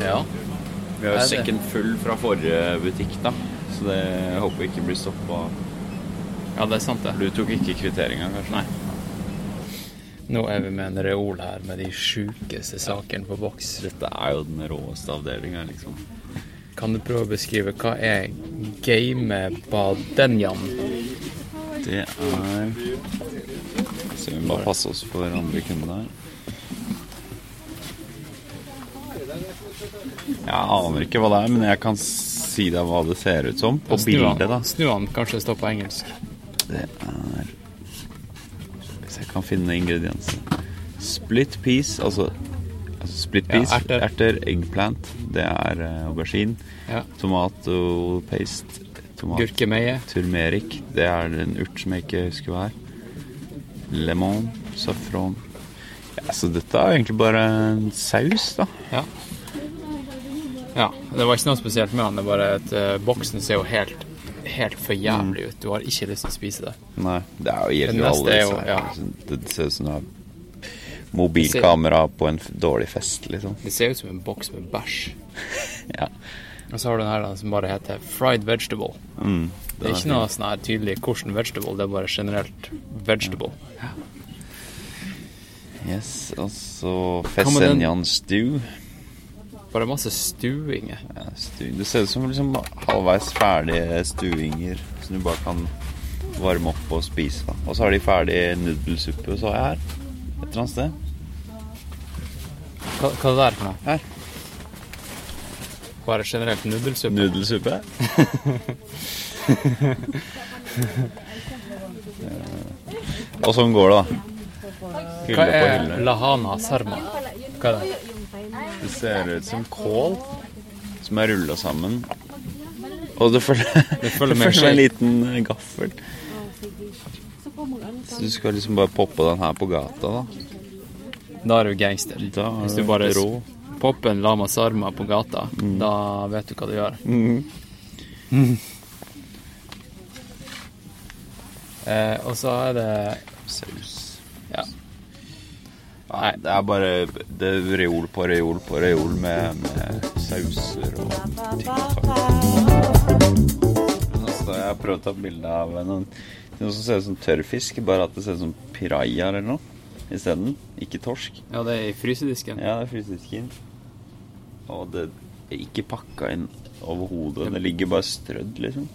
[SPEAKER 3] Ja.
[SPEAKER 4] Vi har
[SPEAKER 3] Er
[SPEAKER 4] jo
[SPEAKER 3] det?
[SPEAKER 4] sekken full fra forrige butikk, da. Så det jeg håper ikke blir stoppa.
[SPEAKER 3] ja, det er sant, det.
[SPEAKER 4] Du tok ikke kvitteringa, kanskje? Nei.
[SPEAKER 3] Nå er vi med en reol her med de sjukeste sakene på boks.
[SPEAKER 4] Dette er jo den råeste avdelinga, liksom.
[SPEAKER 3] Kan du prøve å beskrive hva er gamebadenjan?
[SPEAKER 4] Det er Så vi må bare passe oss for andre kunder her. Jeg aner ikke hva det er, men jeg kan si deg hva det ser ut som på
[SPEAKER 3] Snu han.
[SPEAKER 4] bildet, da.
[SPEAKER 3] Snu han, kanskje det står på engelsk.
[SPEAKER 4] Det er Hvis jeg kan finne ingrediensene Split peas, altså, altså split
[SPEAKER 3] Ja,
[SPEAKER 4] peas,
[SPEAKER 3] erter.
[SPEAKER 4] erter. eggplant, det er eh, aubergine,
[SPEAKER 3] Ja.
[SPEAKER 4] tomato paste, tomat,
[SPEAKER 3] Gurkemeie.
[SPEAKER 4] turmeric, det er en urt som jeg ikke husker hva er, lemon, safron. Ja, så dette er egentlig bare en saus, da.
[SPEAKER 3] Ja. Ja, Det var ikke noe spesielt med han, det er bare at eh, boksen ser jo helt, helt for
[SPEAKER 4] Mm.
[SPEAKER 3] jævlig ut. Du har ikke lyst til å spise det.
[SPEAKER 4] Nei, det er jo
[SPEAKER 3] Den
[SPEAKER 4] gjelder jo
[SPEAKER 3] neste
[SPEAKER 4] alle
[SPEAKER 3] er jo-
[SPEAKER 4] disse her.
[SPEAKER 3] ja.
[SPEAKER 4] liksom. Det ser ut som du har mobilkamera på en f- dårlig fest, liksom.
[SPEAKER 3] Det ser ut som en boks med bæsj.
[SPEAKER 4] Ja.
[SPEAKER 3] Og så har du den her da, som bare heter fried vegetable.
[SPEAKER 4] Mm,
[SPEAKER 3] Det er ikke noe sånn her tydelig hvordan vegetable, det er bare generelt vegetable.
[SPEAKER 4] Mm. Yes, og så
[SPEAKER 3] Hva med den-
[SPEAKER 4] Fesenjan stew.
[SPEAKER 3] Bare masse stuinger.
[SPEAKER 4] Ja, stew. Det ser ut som liksom halvveis ferdige stuinger som du bare kan varme opp og spise. da. Og så har de ferdig nudelsuppe, så jeg her. Et eller annet sted.
[SPEAKER 3] Hva, hva er det der for noe?
[SPEAKER 4] Her.
[SPEAKER 3] Bare generelt nudelsuppe?
[SPEAKER 4] Nudelsuppe. Eh, og sånn går det, da.
[SPEAKER 3] Hva
[SPEAKER 4] Hylle på
[SPEAKER 3] er
[SPEAKER 4] hylle.
[SPEAKER 3] lahana sarma? Hva er det?
[SPEAKER 4] Det ser ut som kål som er rulla sammen. Og det følger, det
[SPEAKER 3] følger med
[SPEAKER 4] følger en
[SPEAKER 3] skje.
[SPEAKER 4] liten eh, gaffel. Så du skal liksom bare poppe den her på gata, da.
[SPEAKER 3] Da er du gangster.
[SPEAKER 4] da er
[SPEAKER 3] Hvis
[SPEAKER 4] det
[SPEAKER 3] du bare
[SPEAKER 4] rå.
[SPEAKER 3] s- popper en lama sarma på gata,
[SPEAKER 4] Mm.
[SPEAKER 3] da vet du hva du gjør. Eh, og så er det
[SPEAKER 4] Saus.
[SPEAKER 3] Ja.
[SPEAKER 4] Nei, det er bare det er reol på reol på reol med, med sauser og Men altså, Jeg har prøvd å ta bilde av noen, noe som ser ut som tørrfisk, bare at det ser ut som piraja eller noe isteden. Ikke torsk.
[SPEAKER 3] ja, det er i frysedisken.
[SPEAKER 4] Ja, det er frysedisken. Og det er ikke pakka inn overhodet. Det ligger bare strødd, liksom.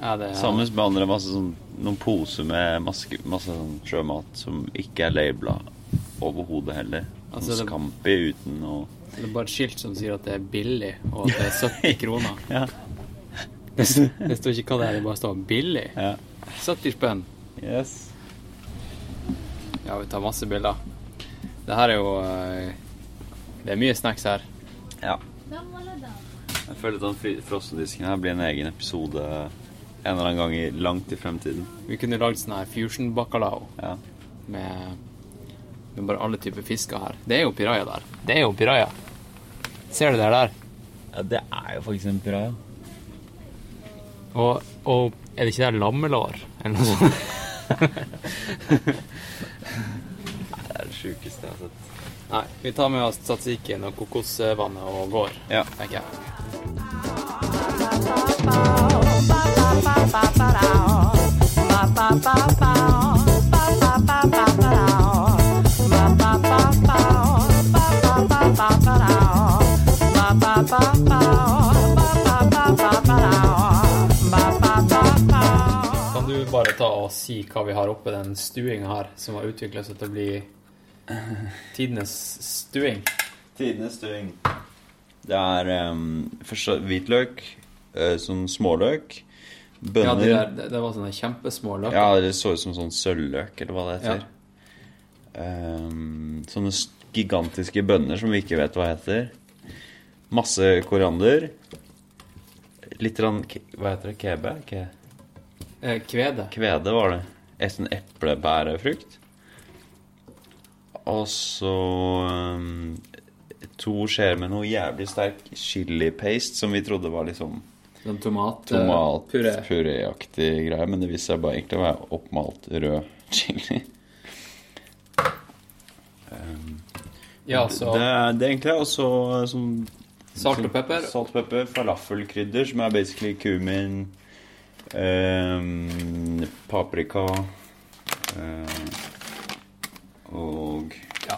[SPEAKER 3] Ja, det er,
[SPEAKER 4] Sammen med andre masse sånn, noen poser med masse, masse sånn sjømat som ikke er labela overhodet heller. Sånn
[SPEAKER 3] Altså, det-
[SPEAKER 4] Scampi uten noe
[SPEAKER 3] det er bare et skilt som sier at det er billig, og at det er 70 kroner.
[SPEAKER 4] Ja.
[SPEAKER 3] Det, s- det står ikke hva det er, det bare står 'billig'.
[SPEAKER 4] ja.
[SPEAKER 3] 70 spenn.
[SPEAKER 4] Yes.
[SPEAKER 3] Ja, vi tar masse bilder. Det her er jo eh, Det er mye snacks her.
[SPEAKER 4] Ja. Jeg føler at den fri- frossendisken her blir en egen episode en eller annen gang i, langt i fremtiden.
[SPEAKER 3] Vi kunne lagd sånn her fusion bacalao
[SPEAKER 4] Ja.
[SPEAKER 3] med, med bare alle typer fisker her. Det er jo piraja der. Det er jo piraja. Ser du det der?
[SPEAKER 4] det er jo faktisk en piraja.
[SPEAKER 3] Og, og er det ikke der lammelår eller noe sånt?
[SPEAKER 4] Det er det sjukeste jeg har sett.
[SPEAKER 3] Nei, vi tar med oss tzatziken og kokosvannet og går,
[SPEAKER 4] Ja.
[SPEAKER 3] tenker jeg. Kan du bare ta og si hva vi har oppe den stuinga her, som har utvikla seg til å bli tidenes stuing?
[SPEAKER 4] Tidenes stuing. Det er em, først hvitløk, eh, sånn småløk,
[SPEAKER 3] Ja,
[SPEAKER 4] bønner
[SPEAKER 3] det,
[SPEAKER 4] Ja,
[SPEAKER 3] der, det, det var sånne kjempesmå løker.
[SPEAKER 4] det, så ut som sånn sølvløk, eller hva det heter. Em, sånne s- gigantiske bønner som vi ikke vet hva heter. Masse koriander. Litt rann, ke- Hva heter det? Kebe? Ke,
[SPEAKER 3] Eh, Kvede.
[SPEAKER 4] kvede var det. Et sånn eplebærefrukt. Og så em, to skjeer med noe jævlig sterk chilipaste som vi trodde var liksom
[SPEAKER 3] Sånn tomat, eh, puré.
[SPEAKER 4] tomatpuréaktig greie, men det viste seg bare egentlig å være oppmalt rød chili.
[SPEAKER 3] Ja, så
[SPEAKER 4] Det, er- det er egentlig også sånn
[SPEAKER 3] Altså- salt og pepper.
[SPEAKER 4] Salt og pepper, falafelkrydder, som er basically kumin, ehm, paprika eh, og
[SPEAKER 3] Ja.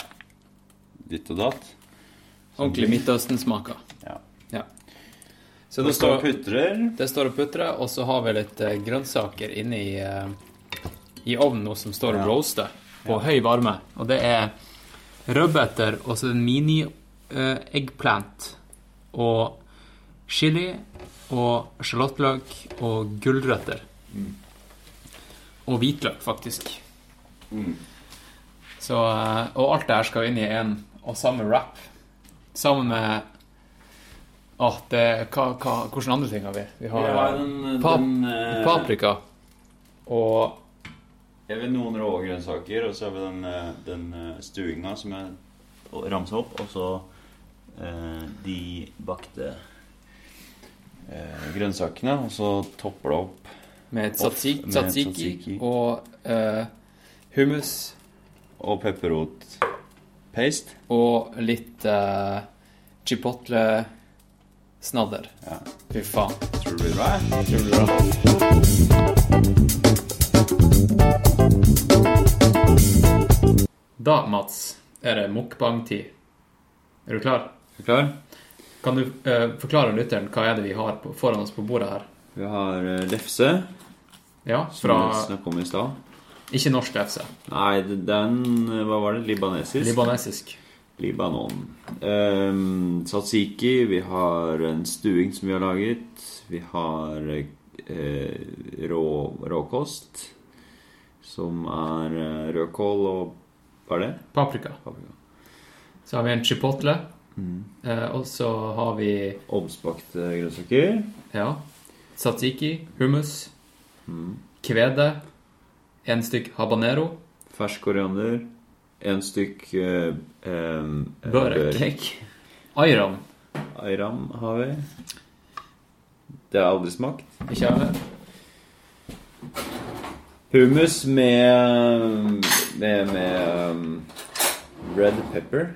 [SPEAKER 4] ditt og datt.
[SPEAKER 3] Ordentlig Midtøsten-smaker.
[SPEAKER 4] Ja.
[SPEAKER 3] Ja. Så
[SPEAKER 4] Så
[SPEAKER 3] det
[SPEAKER 4] det står
[SPEAKER 3] står,
[SPEAKER 4] putrer.
[SPEAKER 3] det står og putrer, og så har vi litt eh, grønnsaker inne i, eh, i ovnen nå som står og
[SPEAKER 4] Ja.
[SPEAKER 3] roaster på høy varme. Og det er rødbeter og så en mini-eggplant og chili og sjalottløk og gulrøtter.
[SPEAKER 4] Mm.
[SPEAKER 3] Og hvitløk, faktisk.
[SPEAKER 4] Mm.
[SPEAKER 3] Så, eh, og alt det her skal inn i en og samme wrap. Sammen med Åh, det hva, hva, Hvilke andre ting har vi? Vi har, pap- eh, paprika og
[SPEAKER 4] Jeg vil noen rå grønnsaker, og så har vi den, eh, den eh, stuinga som jeg og ramsa opp, og så eh, De bakte eh, grønnsakene, og så topper det opp
[SPEAKER 3] Med
[SPEAKER 4] Off,
[SPEAKER 3] tzatziki,
[SPEAKER 4] med
[SPEAKER 3] tzatziki
[SPEAKER 4] tzatziki.
[SPEAKER 3] og eh, hummus
[SPEAKER 4] og pepperrotpaste.
[SPEAKER 3] og litt eh, chipotle-snadder.
[SPEAKER 4] Ja.
[SPEAKER 3] Fy faen.
[SPEAKER 4] Tror du det blir bra? jeg?
[SPEAKER 3] Det blir bra. Da, Mats, er det mukbang-tid. Er du klar?
[SPEAKER 4] Er du klar?
[SPEAKER 3] Kan du eh, forklare lytteren hva er det vi har på, foran oss på bordet her?
[SPEAKER 4] Vi har eh, lefse,
[SPEAKER 3] Ja,
[SPEAKER 4] som
[SPEAKER 3] fra
[SPEAKER 4] vi snakket om i stad.
[SPEAKER 3] Ikke norsk lefse.
[SPEAKER 4] Nei, den eh, Hva var det? Libanesisk?
[SPEAKER 3] Libanesisk.
[SPEAKER 4] Libanon. Um, tzatziki. Vi har en stuing som vi har laget. Vi har eh, rå, råkost, som er eh, rødkål og Hva er det?
[SPEAKER 3] Paprika.
[SPEAKER 4] Paprika.
[SPEAKER 3] Så har vi en chipotle.
[SPEAKER 4] Mm.
[SPEAKER 3] Eh, og så har vi
[SPEAKER 4] Ovnsbakte grønnsaker.
[SPEAKER 3] ja, tzatziki, hummus,
[SPEAKER 4] Mm.
[SPEAKER 3] kvede, en stykk habanero,
[SPEAKER 4] Fersk koriander. En stykk eh, em,
[SPEAKER 3] Børek. ayran.
[SPEAKER 4] Ayram har vi. Det har jeg aldri smakt.
[SPEAKER 3] Ikke alle.
[SPEAKER 4] Hummus med med, med um, red pepper.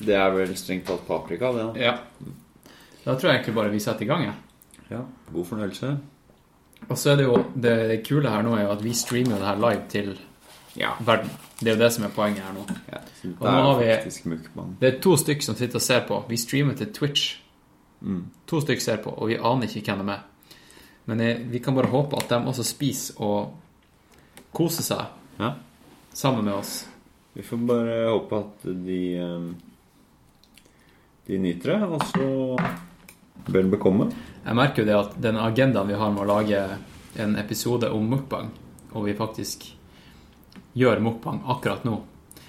[SPEAKER 4] Det er vel strengt talt paprika, det. da.
[SPEAKER 3] Ja. Da tror jeg egentlig bare vi setter i gang. Ja.
[SPEAKER 4] Ja, God fornøyelse.
[SPEAKER 3] Og så er det jo det kule her nå er jo at vi streamer jo det her live til
[SPEAKER 4] Ja.
[SPEAKER 3] verden. Det er jo det som er poenget her nå.
[SPEAKER 4] ja. så Det
[SPEAKER 3] nå har vi-
[SPEAKER 4] er faktisk mukbang.
[SPEAKER 3] Det er to stykk som sitter og ser på. Vi streamer til Twitch. To stykk ser på, og vi aner ikke hvem de er. Men eh, vi kan bare håpe at de også spiser og koser seg
[SPEAKER 4] Ja.
[SPEAKER 3] sammen med oss.
[SPEAKER 4] Vi får bare håpe at de um, De nyter det, og så vel bekomme.
[SPEAKER 3] Jeg merker jo det at den agendaen vi har med å lage en episode om mukbang, og vi faktisk gjør mukbang akkurat nå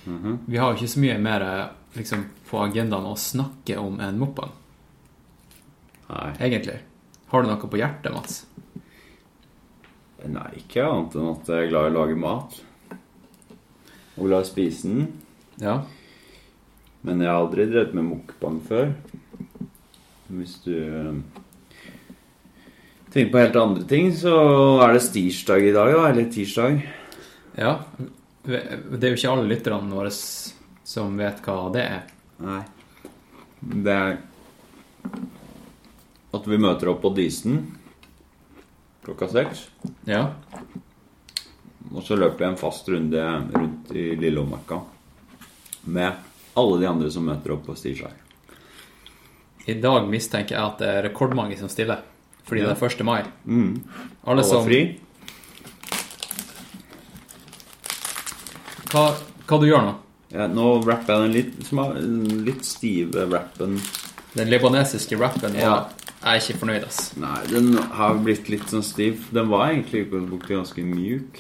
[SPEAKER 3] Vi har jo ikke så mye mer eh, liksom, på agendaen å snakke om en mukbang,
[SPEAKER 4] Nei.
[SPEAKER 3] egentlig. Har du noe på hjertet, Mats?
[SPEAKER 4] Nei, ikke annet enn at jeg er glad i å lage mat. Og glad i å spise den.
[SPEAKER 3] Ja.
[SPEAKER 4] Men jeg har aldri drevet med mukbang før. Hvis du eh, tenker på helt andre ting, så er det stirsdag i dag, da. Eller tirsdag.
[SPEAKER 3] Ja, det er jo ikke alle lytterne våre som vet hva det er.
[SPEAKER 4] Nei. Det er at vi møter opp på Dysen klokka seks.
[SPEAKER 3] Ja,
[SPEAKER 4] Og så løper jeg en fast runde rundt i Lillemarka med alle de andre som møter opp på stirsdag.
[SPEAKER 3] I dag mistenker jeg at det er rekordmange som stiller, fordi
[SPEAKER 4] Ja.
[SPEAKER 3] det er 1. mai.
[SPEAKER 4] Mm.
[SPEAKER 3] Alle
[SPEAKER 4] Alle
[SPEAKER 3] som,
[SPEAKER 4] er fri.
[SPEAKER 3] Hva, hva du gjør nå?
[SPEAKER 4] Ja, nå rapper jeg den litt, som er den litt stive rappen.
[SPEAKER 3] Den libanesiske rappen var
[SPEAKER 4] Ja.
[SPEAKER 3] Jeg er ikke fornøyd, ass.
[SPEAKER 4] Nei, den har blitt litt sånn stiv. Den var egentlig i utgangspunktet ganske mjuk.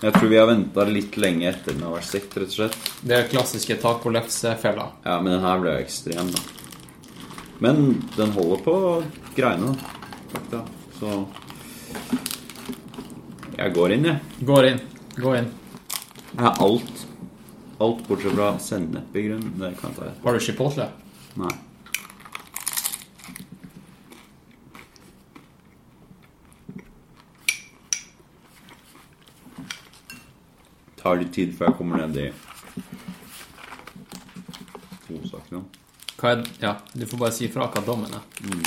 [SPEAKER 4] Jeg tror vi har venta litt lenge etter den har vært stekt, rett og slett.
[SPEAKER 3] Det er klassiske tacolefse-fella.
[SPEAKER 4] Ja, men den her ble jo ekstrem, da. Men den holder på greiene, da. Fakta. Så Jeg går inn, jeg.
[SPEAKER 3] Går inn. Gå inn.
[SPEAKER 4] Jeg har alt. Alt bortsett fra sennep i grunnen. Det kan jeg ta
[SPEAKER 3] Har du chipotle?
[SPEAKER 4] etterpå. Nei. Tar litt tid før jeg kommer ned i godsakene.
[SPEAKER 3] Hva er Ja, du får bare si fra hva dommen er.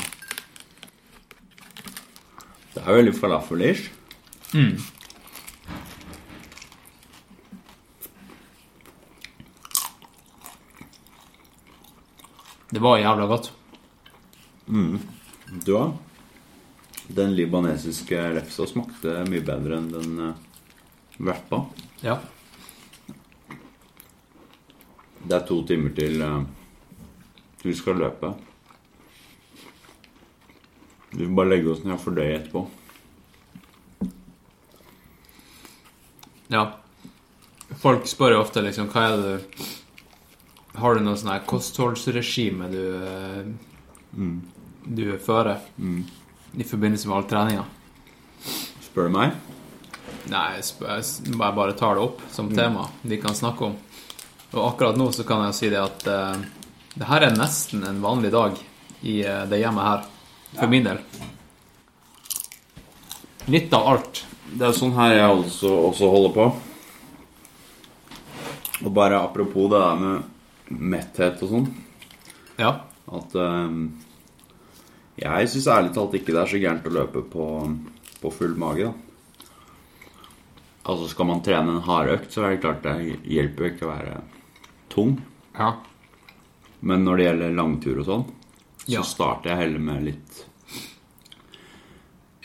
[SPEAKER 4] Det er veldig falafel-ish.
[SPEAKER 3] Det var jævla godt.
[SPEAKER 4] Du da? Den libanesiske lefsa smakte mye bedre enn den eh, wrappa.
[SPEAKER 3] Ja.
[SPEAKER 4] Det er to timer til eh, til vi skal løpe. Vi får bare legge oss ned og fordøye etterpå.
[SPEAKER 3] Ja. Folk spør jo ofte liksom Hva er det du Har du noe sånn her kostholdsregime du eh, Du fører i forbindelse med all treninga?
[SPEAKER 4] Spør du meg?
[SPEAKER 3] Nei, jeg sp- jeg s- jeg bare tar det opp som tema vi kan snakke om. Og akkurat nå så kan jeg jo si det at eh, det her er nesten en vanlig dag i eh, det hjemmet her. For min del. Litt av alt.
[SPEAKER 4] Det er sånn her jeg også, også holder på. Og bare apropos det der med metthet og sånn
[SPEAKER 3] Ja.
[SPEAKER 4] At ehm, jeg syns ærlig talt ikke det er så gærent å løpe på, på full mage, da. Altså skal man trene en hardøkt, så er det klart det hjelper jo ikke å være tung.
[SPEAKER 3] Ja.
[SPEAKER 4] Men når det gjelder langtur og sånn, så
[SPEAKER 3] Ja.
[SPEAKER 4] starter jeg heller med litt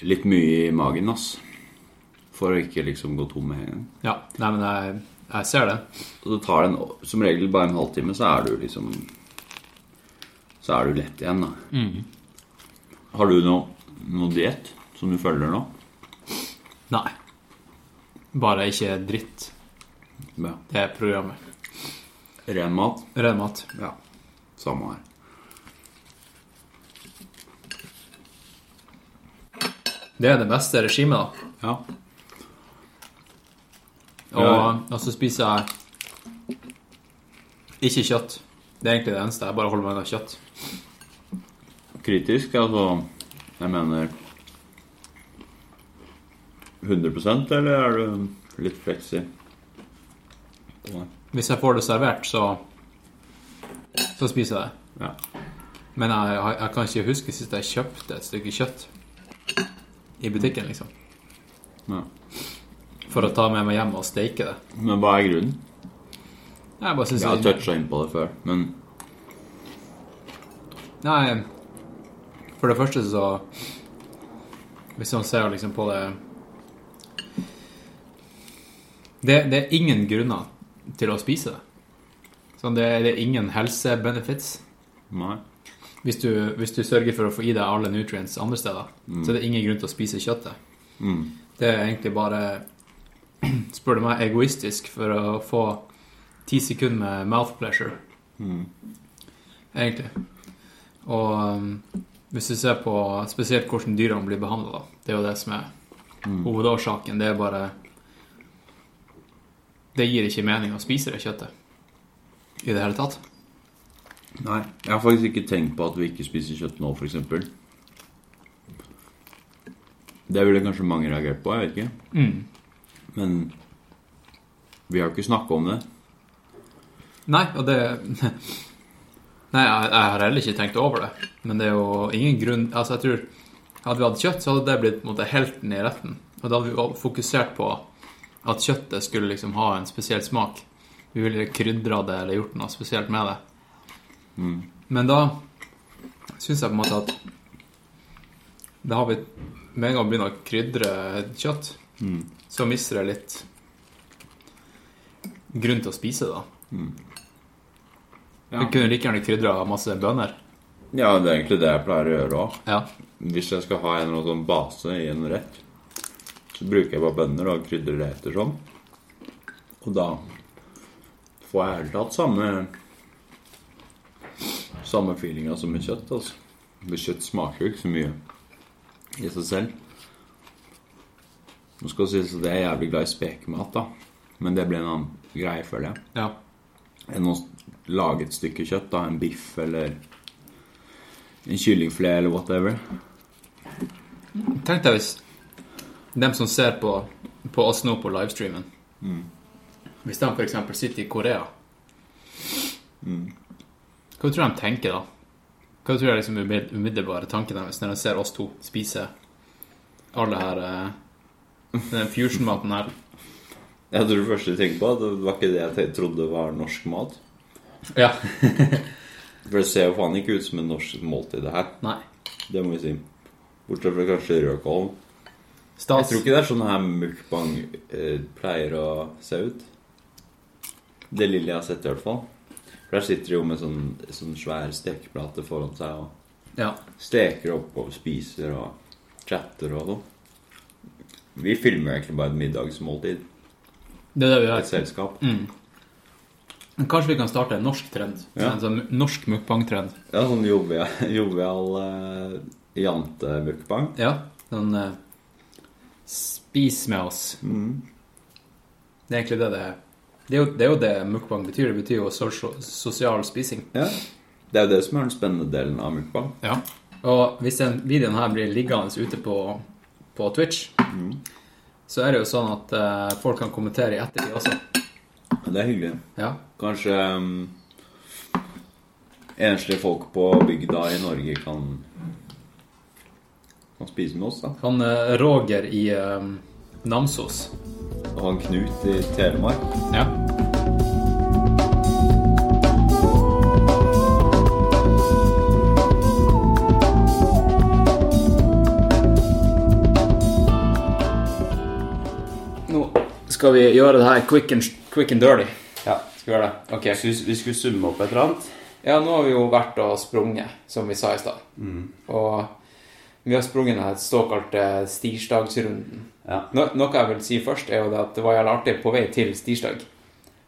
[SPEAKER 4] Litt mye i magen, ass. For å ikke liksom gå tom med en gang.
[SPEAKER 3] ja. Nei, men jeg, jeg ser det.
[SPEAKER 4] Og så tar det en, som regel bare en halvtime, så er du liksom Så er du lett igjen, da. Mm. Har du noe, noe diett som du følger nå?
[SPEAKER 3] Nei. Bare ikke dritt.
[SPEAKER 4] Ja.
[SPEAKER 3] Det er programmet.
[SPEAKER 4] Ren mat?
[SPEAKER 3] Ren mat.
[SPEAKER 4] Ja. Samme her.
[SPEAKER 3] Det er det beste regimet, da.
[SPEAKER 4] Ja.
[SPEAKER 3] Og, og så spiser jeg ikke kjøtt. Det er egentlig det eneste. Jeg bare holder meg unna kjøtt.
[SPEAKER 4] Kritisk, altså Jeg mener 100 eller er du litt fleksi? på det?
[SPEAKER 3] Hvis jeg får det servert, så så spiser jeg det.
[SPEAKER 4] Ja.
[SPEAKER 3] Men jeg, jeg, jeg kan ikke huske sist jeg kjøpte et stykke kjøtt i butikken, liksom.
[SPEAKER 4] ja.
[SPEAKER 3] For å ta med meg hjem og steike det.
[SPEAKER 4] Men hva er grunnen?
[SPEAKER 3] Jeg bare synes
[SPEAKER 4] Jeg har
[SPEAKER 3] det-
[SPEAKER 4] toucha inn på det før, men
[SPEAKER 3] Nei, for det første så Hvis man ser liksom på det Det, det er ingen grunner til å spise det. Sånn, det, det er ingen helsebenefits.
[SPEAKER 4] nei.
[SPEAKER 3] Hvis du, hvis du sørger for å få i deg alle nutrients andre steder, så er det ingen grunn til å spise kjøttet.
[SPEAKER 4] Mm.
[SPEAKER 3] Det er egentlig bare, spør du meg, egoistisk for å få ti sekunder med mouth pleasure. Egentlig. Og um, hvis du ser på spesielt hvordan dyrene blir behandla, det er jo det som er hovedårsaken. Det er bare Det gir ikke mening å spise det kjøttet i det hele tatt.
[SPEAKER 4] Nei, jeg har faktisk ikke tenkt på at vi ikke spiser kjøtt nå, f.eks. Det ville kanskje mange reagert på, jeg vet ikke. Men vi har jo ikke snakka om det.
[SPEAKER 3] Nei, og det Nei, jeg, jeg har heller ikke tenkt over det. Men det er jo ingen grunn Altså, jeg tror Hadde vi hatt kjøtt, så hadde det blitt på en måte helten i retten. Og da hadde vi også fokusert på at kjøttet skulle liksom ha en spesiell smak. Vi ville krydra det eller gjort noe spesielt med det. Men da syns jeg på en måte at Da har vi Med en gang vi begynner å krydre kjøtt, så mister det litt grunn til å spise det, da.
[SPEAKER 4] Ja.
[SPEAKER 3] Du kunne like gjerne krydra masse bønner.
[SPEAKER 4] Ja, det er egentlig det jeg pleier å gjøre òg.
[SPEAKER 3] Ja.
[SPEAKER 4] Hvis jeg skal ha en eller annen sånn base i en rett, så bruker jeg bare bønner og krydrer det etter sånn. Og da får jeg helt tatt samme samme feelinga som med kjøtt, altså. For kjøtt smaker jo ikke så mye i seg selv. Nå skal det sies at jeg er jævlig glad i spekemat, da. Men det blir en annen greie, føler jeg
[SPEAKER 3] ja.
[SPEAKER 4] enn å lage et stykke kjøtt, da, en biff eller en kyllingfilet eller whatever.
[SPEAKER 3] Tenk deg hvis dem som ser på, på oss nå på livestreamen Hvis de f.eks. sitter i Korea Hva tror du de tenker da? Hva tror du er liksom umidd- umiddelbare tanken deres når de ser oss to spise all det her eh, den fusion-maten her?
[SPEAKER 4] Jeg tror det første jeg tenker på, det var ikke det jeg te- trodde var norsk mat.
[SPEAKER 3] Ja.
[SPEAKER 4] For det ser jo faen ikke ut som en norsk måltid, det her.
[SPEAKER 3] Nei.
[SPEAKER 4] Det må vi si. Bortsett fra kanskje rødkål. Jeg
[SPEAKER 3] Stas.
[SPEAKER 4] tror ikke det er sånn her mukbang eh, pleier å se ut. Det lille jeg har sett, i hvert fall. For der sitter de jo med sånn, sånn svær stekeplate foran seg og
[SPEAKER 3] Ja.
[SPEAKER 4] steker opp og spiser og chatter og noe. Vi filmer jo egentlig bare et middagsmåltid.
[SPEAKER 3] Det er det vi gjør.
[SPEAKER 4] Et selskap.
[SPEAKER 3] Men Kanskje vi kan starte en norsk trend?
[SPEAKER 4] Ja.
[SPEAKER 3] En sånn norsk mukbang-trend?
[SPEAKER 4] Ja, sånn jovial, jovial eh, jante-mukbang.
[SPEAKER 3] Ja, sånn eh, Spis med oss. Det er egentlig det det er. Det er jo det, er jo det mukbang betyr. Det betyr jo sosio- sosial spising.
[SPEAKER 4] Ja. Det er jo det som er den spennende delen av mukbang.
[SPEAKER 3] Ja. Og hvis den videoen her blir liggende ute på, på Twitch, så er det jo sånn at eh, folk kan kommentere i ettertid også.
[SPEAKER 4] Men Det er hyggelig.
[SPEAKER 3] Ja.
[SPEAKER 4] Kanskje um, enslige folk på bygda i Norge kan kan spise med oss, da.
[SPEAKER 3] Han eh, Roger i eh, Namsos.
[SPEAKER 4] Og han Knut i Telemark.
[SPEAKER 3] Ja. Nå skal vi gjøre det her quick and, quick and dirty.
[SPEAKER 4] Ja.
[SPEAKER 3] Skal vi gjøre det? Ok.
[SPEAKER 4] Vi, vi skulle summe opp et eller annet.
[SPEAKER 3] Ja, nå har vi jo vært og sprunget, som vi sa i stad.
[SPEAKER 4] Mm.
[SPEAKER 3] Og vi har sprunget den her såkalte stirsdagsrunden.
[SPEAKER 4] Ja.
[SPEAKER 3] No noe jeg vil si først, er jo det at det var jævlig artig på vei til stirsdag.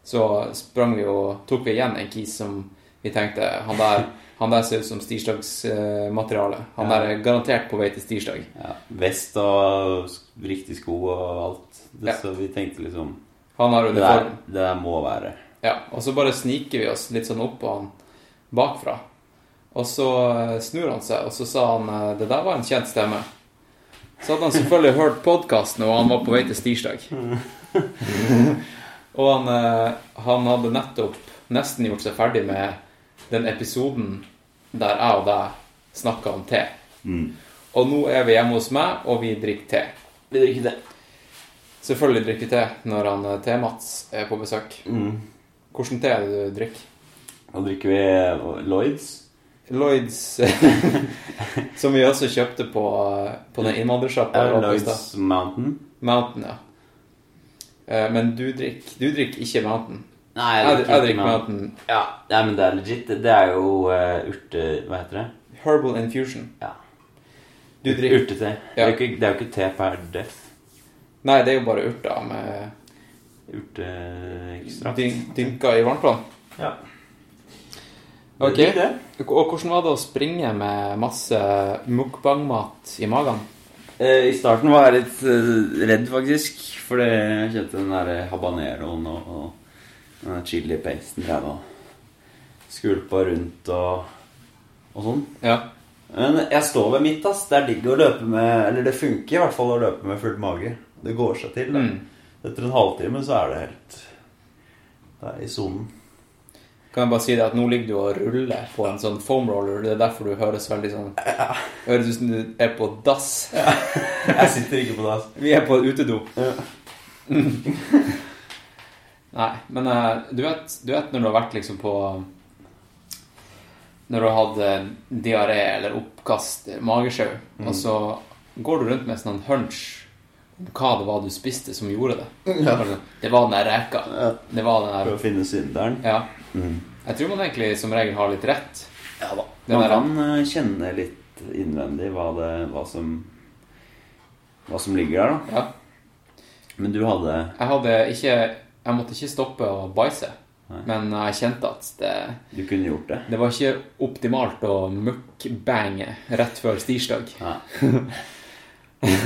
[SPEAKER 3] Så sprang vi og tok vi igjen en kis som vi tenkte Han der, han der ser ut som stirsdagsmateriale. Han der er garantert på vei til stirsdag.
[SPEAKER 5] Ja, vest og s- riktig sko og alt. Det,
[SPEAKER 3] Ja.
[SPEAKER 5] Så vi tenkte liksom
[SPEAKER 3] Han har
[SPEAKER 5] det der,
[SPEAKER 3] uniform.
[SPEAKER 5] det der må være.
[SPEAKER 3] Ja, og så bare sniker vi oss litt sånn opp på han bakfra. Og så eh, snur han seg, og så sa han eh, det der var en kjent stemme. Så hadde han selvfølgelig hørt podkasten, og han var på vei til Stirsdag. og han, eh, han hadde nettopp nesten gjort seg ferdig med den episoden der jeg og deg snakka om te. Og nå er vi hjemme hos meg, og vi drikker te.
[SPEAKER 5] Vi drikker det.
[SPEAKER 3] Selvfølgelig drikker vi te når han eh, Te-Mats er på besøk.
[SPEAKER 5] Mm.
[SPEAKER 3] Hvordan te er det du drikker?
[SPEAKER 5] Da drikker vi Lloyds.
[SPEAKER 3] Lloyds Som vi også kjøpte på, på den innvandrersjappa.
[SPEAKER 5] Ja,
[SPEAKER 3] vi var på i stad.
[SPEAKER 5] Lloyds Mountain.
[SPEAKER 3] Mountain, ja. Eh, Men du drikker du drikker ikke Mountain.
[SPEAKER 5] Nei,
[SPEAKER 3] Jeg, jeg,
[SPEAKER 5] ikke
[SPEAKER 3] drikker
[SPEAKER 5] Mountain.
[SPEAKER 3] Mountain
[SPEAKER 5] Ja, nei, men det er legit. Det- Det er jo eh, urte... Hva heter det?
[SPEAKER 3] Herbal Infusion.
[SPEAKER 5] Ja.
[SPEAKER 3] Du drikker
[SPEAKER 5] Urtete. Det,
[SPEAKER 3] Ja.
[SPEAKER 5] er jo ikke, det er jo ikke te per deff.
[SPEAKER 3] Nei, det er jo bare urter med
[SPEAKER 5] Urteekstrakt.
[SPEAKER 3] dyn, dynka i varmtvann.
[SPEAKER 5] Ja.
[SPEAKER 3] Ok.
[SPEAKER 5] Digg det.
[SPEAKER 3] Og hvordan var det å springe med masse mukbang-mat i magen?
[SPEAKER 5] Eh, I starten var jeg litt eh, redd, faktisk. Fordi jeg kjente den der eh, habaneroen og, og den der chilipasten drev og skvulpa rundt og, og sånn.
[SPEAKER 3] Ja.
[SPEAKER 5] Men jeg står ved mitt, ass. Det er digg å løpe med Eller det funker i hvert fall å løpe med full mage. Det går seg til. da.
[SPEAKER 3] Mm.
[SPEAKER 5] Etter en halvtime så er det helt Det er i sonen.
[SPEAKER 3] Kan jeg bare si deg at nå ligger du og ruller på en sånn foam roller. Det er derfor du høres veldig sånn Høres ut som du er på dass.
[SPEAKER 5] Jeg sitter ikke på det, ass.
[SPEAKER 3] Vi er på et utedo.
[SPEAKER 5] Ja.
[SPEAKER 3] Nei, men eh, du, vet, du vet når du har vært liksom på eh, Når du har hatt eh, diaré eller oppkast, eh, magesjau,
[SPEAKER 5] Mm.
[SPEAKER 3] og så går du rundt med en sånn hunch om hva det var du spiste som gjorde det. Bare sånn, Det var den der reka.
[SPEAKER 5] Ja.
[SPEAKER 3] Det var den
[SPEAKER 5] Prøv
[SPEAKER 3] der
[SPEAKER 5] å finne synderen.
[SPEAKER 3] Ja. Jeg tror man egentlig som regel har litt rett.
[SPEAKER 5] Ja da.
[SPEAKER 3] Den
[SPEAKER 5] Man
[SPEAKER 3] er
[SPEAKER 5] kan eh, kjenne litt innvendig hva, det, hva, som, hva som ligger der, da.
[SPEAKER 3] Ja.
[SPEAKER 5] Men du hadde
[SPEAKER 3] Jeg hadde ikke Jeg måtte ikke stoppe å bæsje, men jeg kjente at det
[SPEAKER 5] Du kunne gjort det.
[SPEAKER 3] Det var ikke optimalt å mukbange rett før stirsdag.
[SPEAKER 5] Nei.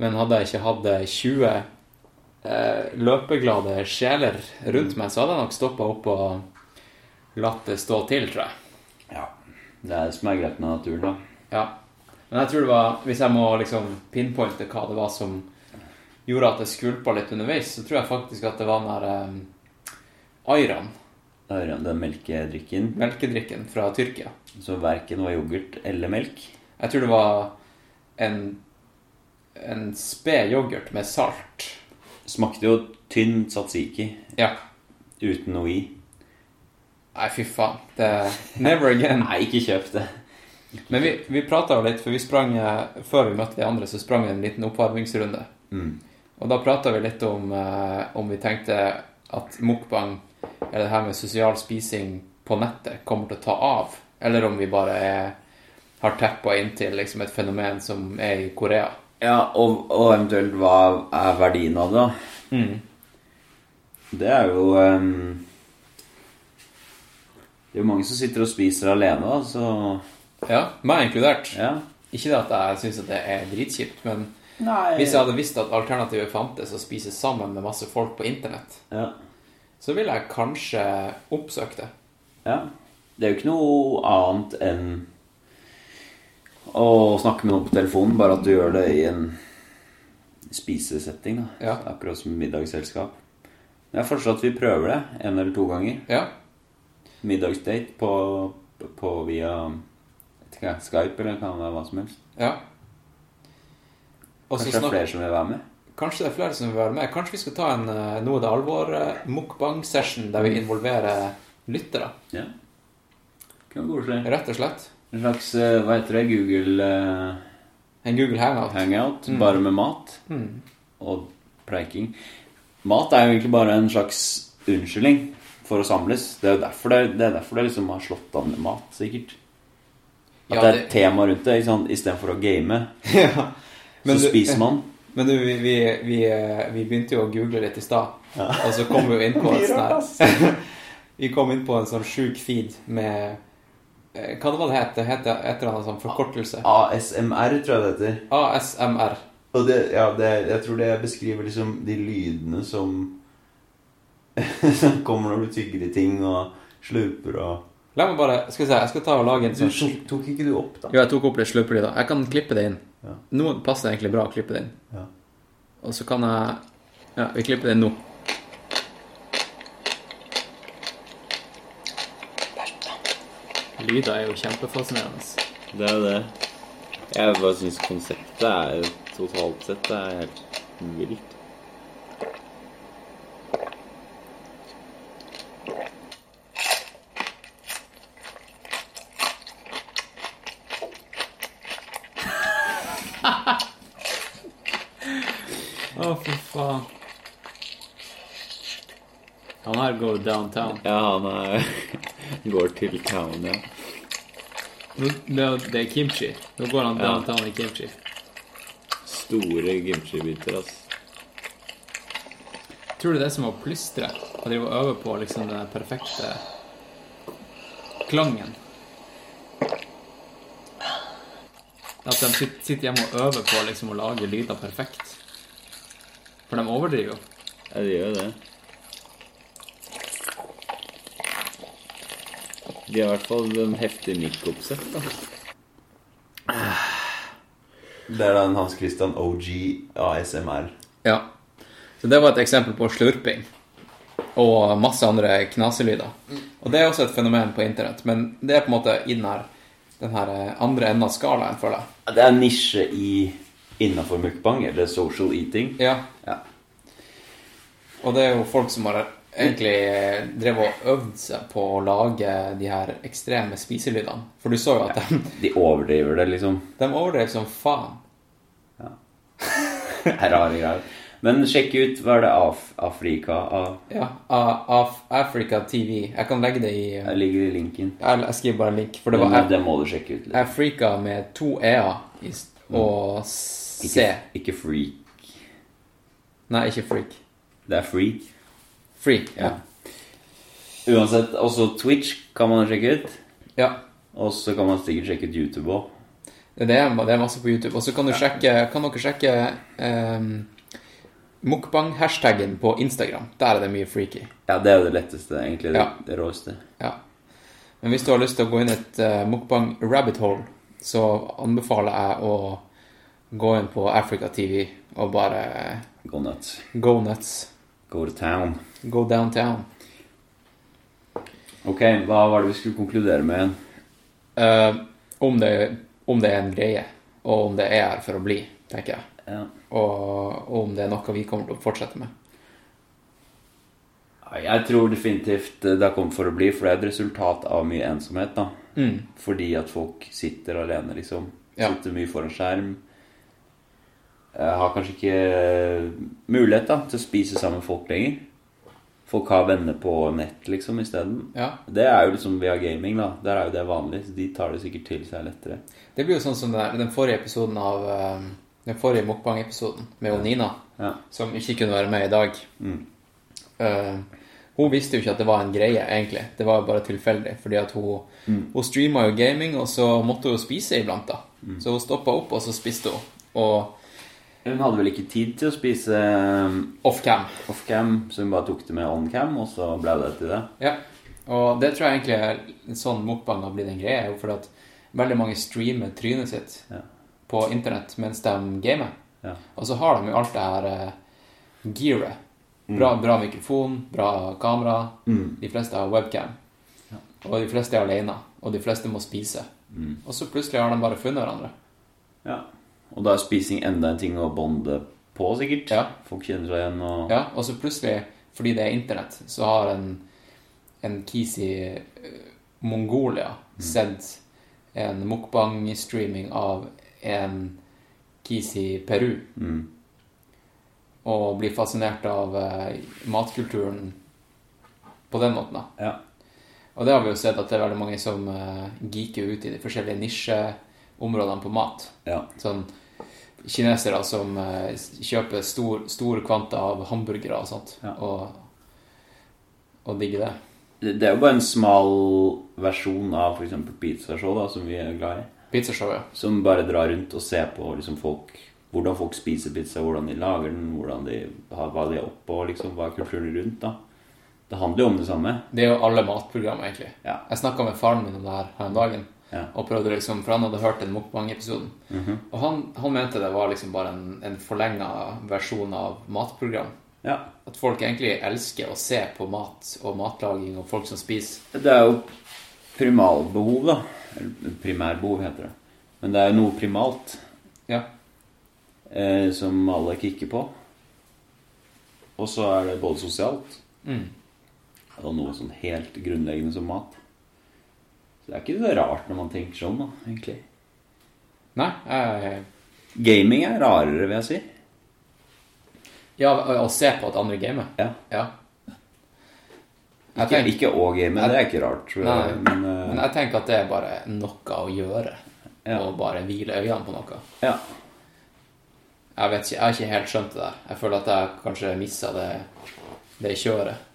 [SPEAKER 3] Men hadde jeg ikke hatt 20 eh, løpeglade sjeler rundt meg, så hadde jeg nok stoppa opp og latt det stå til, tror jeg.
[SPEAKER 5] Ja. Det er det som er greit med naturen, da.
[SPEAKER 3] Ja. Men jeg tror det var Hvis jeg må liksom pinpointe hva det var som gjorde at jeg skvulpa litt underveis, så tror jeg faktisk at det var den der eh, Ayran,
[SPEAKER 5] Da hører jeg om den melkedrikken.
[SPEAKER 3] melkedrikken fra Tyrkia.
[SPEAKER 5] Så verken var yoghurt eller melk.
[SPEAKER 3] Jeg tror det var en, en sped yoghurt med salt.
[SPEAKER 5] Smakte jo tynn tzatziki
[SPEAKER 3] Ja.
[SPEAKER 5] uten noe i.
[SPEAKER 3] Nei, fy faen. Det Never again.
[SPEAKER 5] Nei, ikke kjøp det.
[SPEAKER 3] Men vi, vi prata jo litt, for vi sprang eh, før vi møtte de andre, så sprang vi en liten oppvarmingsrunde. Og da prata vi litt om eh, om vi tenkte at mukbang, eller det her med sosial spising på nettet, kommer til å ta av. Eller om vi bare er, har tappa inntil liksom, et fenomen som er i Korea.
[SPEAKER 5] Ja, og, og eventuelt hva er verdien av det, da? Det er jo ehm, Det er jo mange som sitter og spiser alene, da, så
[SPEAKER 3] Ja, meg inkludert.
[SPEAKER 5] ja.
[SPEAKER 3] Ikke det at jeg syns det er dritkjipt, men
[SPEAKER 5] Nei.
[SPEAKER 3] hvis jeg hadde visst at alternativet fantes å spise sammen med masse folk på internett,
[SPEAKER 5] Ja.
[SPEAKER 3] så ville jeg kanskje oppsøkt det.
[SPEAKER 5] Ja. Det er jo ikke noe annet enn å snakke med noen på telefonen, bare at du gjør det i en spisesetting. da.
[SPEAKER 3] Ja.
[SPEAKER 5] Akkurat som middagsselskap. Jeg foreslår at vi prøver det en eller to ganger.
[SPEAKER 3] Ja.
[SPEAKER 5] Middagsdate på, på via vet ikke, jeg, Skype eller kan det være hva som helst.
[SPEAKER 3] ja. Og så
[SPEAKER 5] Kanskje det er
[SPEAKER 3] snak-
[SPEAKER 5] flere som vil være med.
[SPEAKER 3] Kanskje det er flere som vil være med. Kanskje vi skal ta en eh, Nå er det alvor eh, mukbang-session der vi involverer lyttere,
[SPEAKER 5] Ja. Kan være koselig.
[SPEAKER 3] rett og slett.
[SPEAKER 5] En slags eh, hva heter det, Google eh,
[SPEAKER 3] En Google Hangout.
[SPEAKER 5] hangout, bare med mat
[SPEAKER 3] Mm.
[SPEAKER 5] og preiking. Mat er jo egentlig bare en slags unnskyldning for å samles. Det er jo derfor det, det, er derfor det liksom har slått an med mat, sikkert. At
[SPEAKER 3] Ja,
[SPEAKER 5] det er
[SPEAKER 3] det-
[SPEAKER 5] et tema rundt det. ikke sant? Istedenfor å game,
[SPEAKER 3] Ja.
[SPEAKER 5] så
[SPEAKER 3] Men du-
[SPEAKER 5] spiser man.
[SPEAKER 3] Men du, vi, vi, vi, eh, vi begynte jo å google litt i stad, og så kom vi jo inn på en sånn her Vi kom inn på en sånn sjuk feed med eh, Hva det var det het? Det het et eller annet sånn forkortelse.
[SPEAKER 5] ASMR, tror jeg det heter.
[SPEAKER 3] ASMR.
[SPEAKER 5] Og det, ja, det, jeg tror det beskriver liksom de lydene som Som kommer når du tygger i ting og slurper og
[SPEAKER 3] La meg bare Skal vi se, jeg skal ta og lage en
[SPEAKER 5] Du
[SPEAKER 3] sånn
[SPEAKER 5] tok, tok ikke du opp, da?
[SPEAKER 3] Ah. Jo, jeg tok opp litt slurpelyd. Jeg kan klippe det inn.
[SPEAKER 5] Ja.
[SPEAKER 3] Nå passer det egentlig bra å klippe det inn.
[SPEAKER 5] Ja.
[SPEAKER 3] Og så kan jeg Ja, vi klipper det inn nå. Lyder er jo kjempefascinerende.
[SPEAKER 4] Det er jo det. Jeg bare syns konseptet er totalt sett det er helt vilt.
[SPEAKER 6] Å, fy faen. Han her går downtown.
[SPEAKER 4] Ja, han er Går til town, ja.
[SPEAKER 6] Nå, det, er- det er kimchi. Nå går han downtown i kimchi.
[SPEAKER 4] Store gymchi-biter, ass.
[SPEAKER 6] Tror du det er som å plystre og drive og øve på liksom den perfekte klangen? At de sit- sitter hjemme og øver på liksom å lage lyder perfekt. For de overdriver jo.
[SPEAKER 4] Ja, de gjør jo det. De har i hvert fall en heftig mic-oppsett, da.
[SPEAKER 5] Det er da en Hans Christian OG ASMR.
[SPEAKER 3] Ja. Så det var et eksempel på slurping. Og masse andre knaselyder. Og det er også et fenomen på internett, men det er på en måte i den her, den her eh, andre enden av skalaen, føler jeg.
[SPEAKER 5] Det er en nisje i innafor mukbang, eller social eating.
[SPEAKER 3] Ja.
[SPEAKER 5] Ja.
[SPEAKER 3] Og det er jo folk som har egentlig eh, drevet og øvd seg på å lage de her ekstreme spiselydene. For du så jo at de,
[SPEAKER 5] De overdriver det, liksom.
[SPEAKER 3] de overdrev som faen.
[SPEAKER 5] Det er Rare greier. Men sjekk ut Hva er det Af Afrika av?
[SPEAKER 3] Ja. Av av Africa TV. Jeg kan legge det i eh,
[SPEAKER 5] Her ligger i linken.
[SPEAKER 3] Jeg jeg skriver bare en link, for det
[SPEAKER 5] Det,
[SPEAKER 3] var
[SPEAKER 5] må-
[SPEAKER 3] Af-
[SPEAKER 5] det må du sjekke ut. Litt.
[SPEAKER 3] Africa med to e-er i s- og c.
[SPEAKER 5] Ikke, liksom. ikke freak.
[SPEAKER 3] Nei, ikke freak.
[SPEAKER 5] Det er freak.
[SPEAKER 3] Freak.
[SPEAKER 5] Ja.
[SPEAKER 3] Ja.
[SPEAKER 5] Uansett, også Twitch kan man sjekke ut.
[SPEAKER 3] ja.
[SPEAKER 5] Og så kan man sikkert sjekke ut YouTube òg.
[SPEAKER 3] Det er, det er masse på YouTube. Og så kan, du sjekke, kan dere sjekke ehm, mukbang-hashtaggen på Instagram. Der er det mye freaky.
[SPEAKER 5] Ja, det er jo det letteste, egentlig. Det,
[SPEAKER 3] Ja.
[SPEAKER 5] det råeste.
[SPEAKER 3] Ja. Men hvis du har lyst til å gå inn i et eh, mukbang rabbit hole, så anbefaler jeg å gå inn på Africa TV og bare eh,
[SPEAKER 5] Go nuts.
[SPEAKER 3] go nuts.
[SPEAKER 5] Go to town.
[SPEAKER 3] Go downtown.
[SPEAKER 5] Ok, hva var det vi skulle konkludere med igjen?
[SPEAKER 3] Eh, om, det, om det er en greie, og om det er her for å bli, tenker jeg.
[SPEAKER 5] Ja.
[SPEAKER 3] Og, og om det er noe vi kommer til å fortsette med.
[SPEAKER 5] Ja, Jeg tror definitivt det har kommet for å bli, for det er et resultat av mye ensomhet. da. Fordi at folk sitter alene, liksom.
[SPEAKER 3] Mm. Ja.
[SPEAKER 5] Sitter mye foran skjerm. Eh, Har kanskje ikke mulighet da, til å spise sammen med folk lenger. Folk har venner på nett liksom isteden.
[SPEAKER 3] Ja.
[SPEAKER 5] Det er jo liksom via gaming, da. Der er jo det vanlig, så de tar det sikkert til seg lettere.
[SPEAKER 3] Det blir jo sånn som den, der- den forrige episoden av eh, Den forrige mukbang-episoden med hun Nina,
[SPEAKER 5] Ja. Mm.
[SPEAKER 3] som ikke kunne være med i dag. Eh, hun visste jo ikke at det var en greie, egentlig. Det var jo bare tilfeldig. Fordi at hun,
[SPEAKER 5] Mm.
[SPEAKER 3] hun streama jo
[SPEAKER 5] Mm.
[SPEAKER 3] gaming, og så måtte hun jo spise iblant, da. Så hun stoppa opp, og så spiste hun. Og
[SPEAKER 5] Hun hadde vel ikke tid til å spise eh,
[SPEAKER 3] Off-cam.
[SPEAKER 5] off-cam, så hun bare tok det med on-cam, og så ble det til det.
[SPEAKER 3] Ja. Og det tror jeg egentlig er en sånn mukbang har blitt en greie, er jo fordi at veldig mange streamer trynet sitt
[SPEAKER 5] Ja.
[SPEAKER 3] på internett mens de gamer.
[SPEAKER 5] Ja.
[SPEAKER 3] Og så har de jo alt det her eh, gearet.
[SPEAKER 5] Mm.
[SPEAKER 3] Bra, bra mikrofon, bra kamera. De fleste har webcam. Og de fleste er alene. Og de fleste må spise.
[SPEAKER 5] Mm.
[SPEAKER 3] Og så plutselig har de bare funnet hverandre.
[SPEAKER 5] Ja. Og da er spising enda en ting å bonde på, sikkert.
[SPEAKER 3] Ja.
[SPEAKER 5] Folk kjenner seg igjen og
[SPEAKER 3] Ja, og så plutselig, fordi det er internett, så har en, en kis i eh, Mongolia sett en mukbang-streaming av en kis i Peru. Og blir fascinert av eh, matkulturen på den måten, da.
[SPEAKER 5] Ja.
[SPEAKER 3] Og det har vi jo sett at det er veldig mange som eh, geeker ut i de forskjellige nisjeområdene på mat.
[SPEAKER 5] Ja.
[SPEAKER 3] Sånn kinesere som eh, kjøper stor, store kvanta av hamburgere og sånt,
[SPEAKER 5] Ja.
[SPEAKER 3] og, og digger det.
[SPEAKER 5] Det det er jo bare en smal versjon av f.eks. pizzashow, da, som vi er glad i.
[SPEAKER 3] Pizzashowet.
[SPEAKER 5] Som bare drar rundt og ser på liksom, folk, hvordan folk spiser pizza, hvordan de lager den, hvordan de har, hva de er oppå, liksom, hva er kulturen rundt. da. Det handler jo om det samme.
[SPEAKER 3] Det er jo alle matprogram, egentlig.
[SPEAKER 5] Ja.
[SPEAKER 3] Jeg snakka med faren min om det her her om dagen,
[SPEAKER 5] Ja. Mhm.
[SPEAKER 3] og prøvde liksom, for han hadde hørt den mukbang-episoden. Og han, han mente det var liksom bare en, en forlenga versjon av matprogram.
[SPEAKER 5] Ja.
[SPEAKER 3] At folk egentlig elsker å se på mat og matlaging og folk som spiser.
[SPEAKER 5] Det er jo primalbehov, da. Eller primærbehov, heter det. Men det er jo noe primalt
[SPEAKER 3] Ja.
[SPEAKER 5] eh, som alle kikker på. Og så er det både sosialt og noe sånn helt grunnleggende som mat. Så det er ikke så rart når man tenker sånn, da, egentlig.
[SPEAKER 3] Nei, eh, jeg
[SPEAKER 5] Gaming er rarere, vil jeg si.
[SPEAKER 3] Ja, å- å se på at andre gamer.
[SPEAKER 5] Ja.
[SPEAKER 3] Ja. Jeg
[SPEAKER 5] Ikke,
[SPEAKER 3] tenker,
[SPEAKER 5] ikke å game, det er ikke rart. tror jeg.
[SPEAKER 3] Nei.
[SPEAKER 5] Men, eh,
[SPEAKER 3] men jeg tenker at det er bare noe å gjøre.
[SPEAKER 5] Ja.
[SPEAKER 3] Og bare hvile øynene på noe.
[SPEAKER 5] ja.
[SPEAKER 3] Jeg vet ikke, jeg har ikke helt skjønt det der. Jeg føler at jeg kanskje missa det, det kjøret.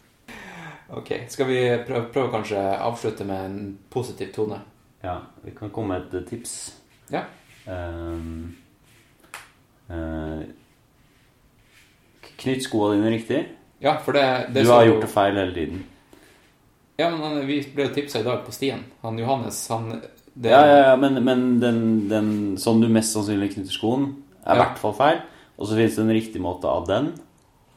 [SPEAKER 3] Ok, skal vi prøve, prøve kanskje avslutte med en positiv tone?
[SPEAKER 5] ja, vi kan komme med et eh, tips.
[SPEAKER 3] Ja.
[SPEAKER 5] Ehm, eh, knytt skoene dine riktig.
[SPEAKER 3] Ja, for det, sånn-
[SPEAKER 5] Du
[SPEAKER 3] det
[SPEAKER 5] har gjort det feil hele tiden.
[SPEAKER 3] Ja, men han- vi ble jo tipsa i dag på stien. Han Johannes, han det,
[SPEAKER 5] Ja, ja, ja, men, men den, den sånn du mest sannsynlig knytter skoen, er i
[SPEAKER 3] Ja.
[SPEAKER 5] hvert fall feil. Og så fins det en riktig måte av den,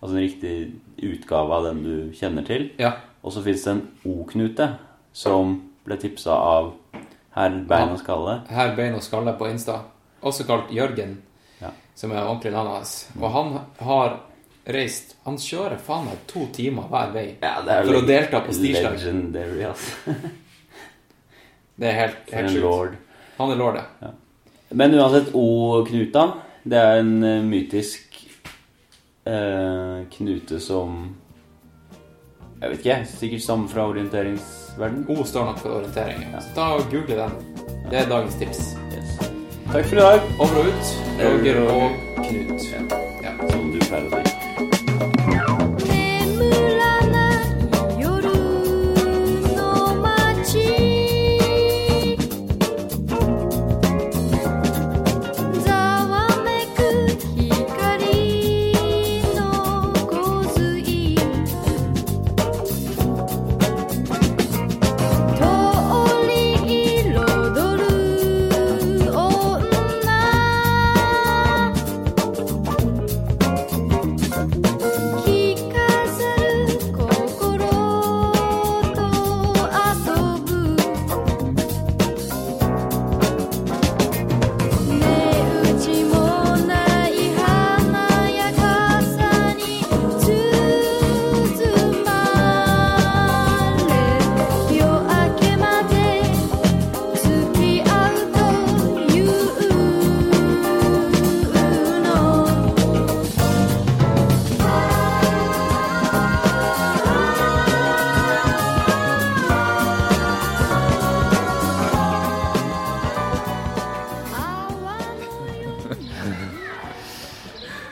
[SPEAKER 5] altså en riktig utgave av den du kjenner til.
[SPEAKER 3] Ja.
[SPEAKER 5] Og så fins det en O-knute som ble tipsa av herr Beina Skalle.
[SPEAKER 3] Her bein og skalle på Insta, også kalt Jørgen,
[SPEAKER 5] Ja.
[SPEAKER 3] som er ordentlig navnet hans. Og han har reist Han kjører faen meg to timer hver vei for å delta på stislag.
[SPEAKER 5] Legendary, altså.
[SPEAKER 3] Det er helt,
[SPEAKER 5] For
[SPEAKER 3] helt
[SPEAKER 5] en
[SPEAKER 3] sjukt.
[SPEAKER 5] lord.
[SPEAKER 3] Han er lord, ja.
[SPEAKER 5] Men uansett, O-knuta, det er en eh, mytisk eh, knute som Jeg vet ikke, jeg, sikkert samme fra orienteringsverden.
[SPEAKER 3] O står nok for orientering. Ja. Så ta og google den. Det er dagens tips.
[SPEAKER 5] Yes. Takk for i dag.
[SPEAKER 3] Over og ut. Roger og Knut. Ja.
[SPEAKER 5] Som du pleier å si.
[SPEAKER 7] 眠らない夜の街ざわめく光の梢通り彩る女「ひかせる心と遊ぶ」「値打ちもない華やかさに包まれ」「夜明けまで付き合うというの」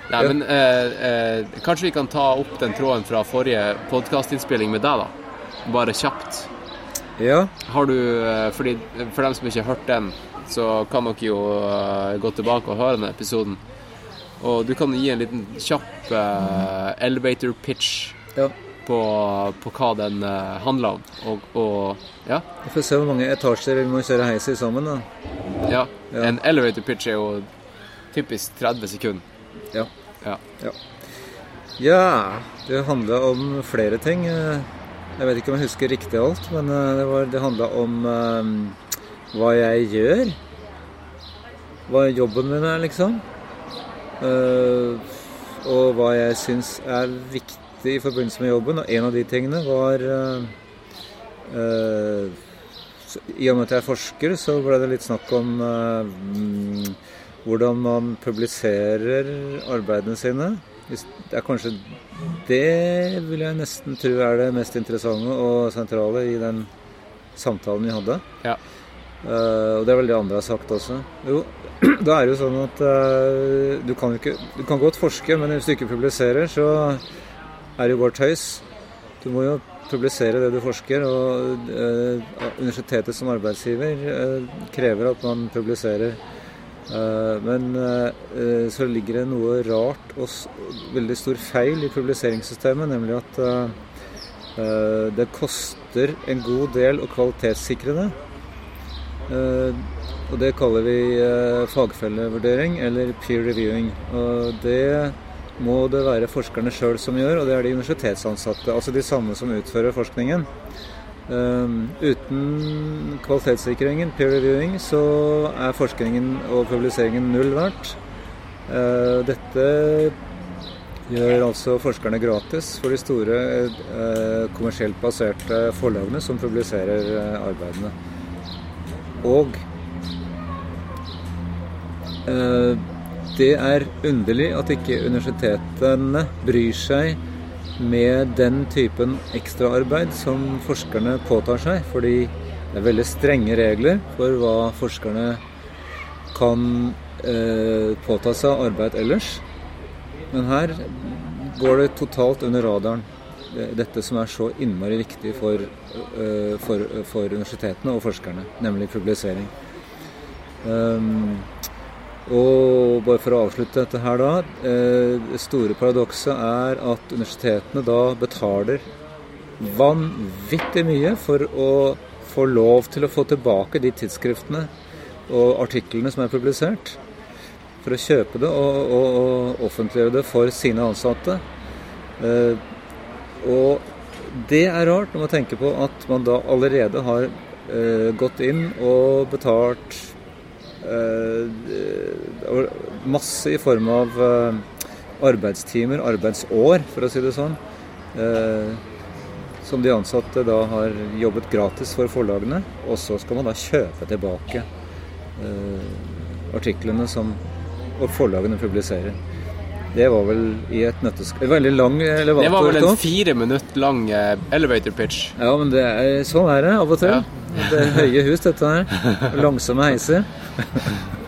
[SPEAKER 1] Nei, men eh, eh, kanskje vi kan ta opp den tråden fra forrige podkastinnspilling med deg, da. Bare kjapt.
[SPEAKER 2] Ja,
[SPEAKER 1] Har du eh, fordi, For dem som ikke har hørt den, så kan dere jo eh, gå tilbake og høre den episoden.
[SPEAKER 3] Og du kan gi en liten kjapp eh, elevator pitch
[SPEAKER 2] Ja.
[SPEAKER 3] på, på hva den eh, handler om. Og, og ja,
[SPEAKER 2] Vi får se hvor mange etasjer vi må kjøre heis i sammen, da.
[SPEAKER 3] ja.
[SPEAKER 2] Ja.
[SPEAKER 3] En elevator pitch er jo typisk 30 sekunder.
[SPEAKER 2] Ja.
[SPEAKER 3] Ja.
[SPEAKER 2] Ja, det handla om flere ting. Eh, Jeg vet ikke om jeg husker riktig alt, men eh, det, var- det handla om eh, hva jeg gjør. Hva jobben min er, liksom. Eh, Og hva jeg syns er viktig i forbindelse med jobben. Og en av de tingene var eh, eh, så- I og med at jeg er forsker, så ble det litt snakk om eh, mm, hvordan man publiserer arbeidene sine. Hvis det er kanskje det vil jeg nesten tro er det mest interessante og sentrale i den samtalen vi hadde.
[SPEAKER 3] Ja.
[SPEAKER 2] Eh, og det er vel det andre har sagt også. Jo, da er det jo sånn at eh, du kan jo ikke Du kan godt forske, men hvis du ikke publiserer, så er det jo bare tøys. Du må jo publisere det du forsker, og eh, universitetet som arbeidsgiver eh, krever at man publiserer. Eh, Men eh, eh, så ligger det noe rart og s- veldig stor feil i publiseringssystemet, nemlig at eh, eh, det koster en god del å kvalitetssikre det. Eh, Og det kaller vi eh, fagfellevurdering eller peer reviewing. Og det må det være forskerne sjøl som gjør, og det er de universitetsansatte. Altså de samme som utfører forskningen. Um, uten kvalitetssikringen, peer reviewing, så er forskningen og publiseringen null verdt. Eh, dette gjør altså forskerne gratis for de store eh, kommersielt baserte forlagene som publiserer eh, arbeidene. Og eh, det er underlig at ikke universitetene bryr seg med den typen ekstraarbeid som forskerne påtar seg. Fordi det er veldig strenge regler for hva forskerne kan eh, påta seg av arbeid ellers. Men her går det totalt under radaren. Det- Dette som er så innmari viktig for, eh, for, for universitetene og forskerne, nemlig publisering. Ehm, og bare for å avslutte dette her, da. eh, Det store paradokset er at universitetene da betaler vanvittig mye for å få lov til å få tilbake de tidsskriftene og artiklene som er publisert. For å kjøpe det og, og, og offentliggjøre det for sine ansatte. Eh, og det er rart når man tenker på at man da allerede har eh, gått inn og betalt Eh, det var masse i form av eh, arbeidstimer, arbeidsår, for å si det sånn. eh, Som de ansatte da har jobbet gratis for forlagene. Og så skal man da kjøpe tilbake eh, artiklene som og forlagene publiserer. Det var vel i et nøttesk... En veldig lang elevator.
[SPEAKER 3] Det var vel
[SPEAKER 2] Tom.
[SPEAKER 3] en fire minutt lang eh, elevator pitch.
[SPEAKER 2] Ja, men det er, sånn er det av og til. Det er høye hus, dette her. Langsomme heiser.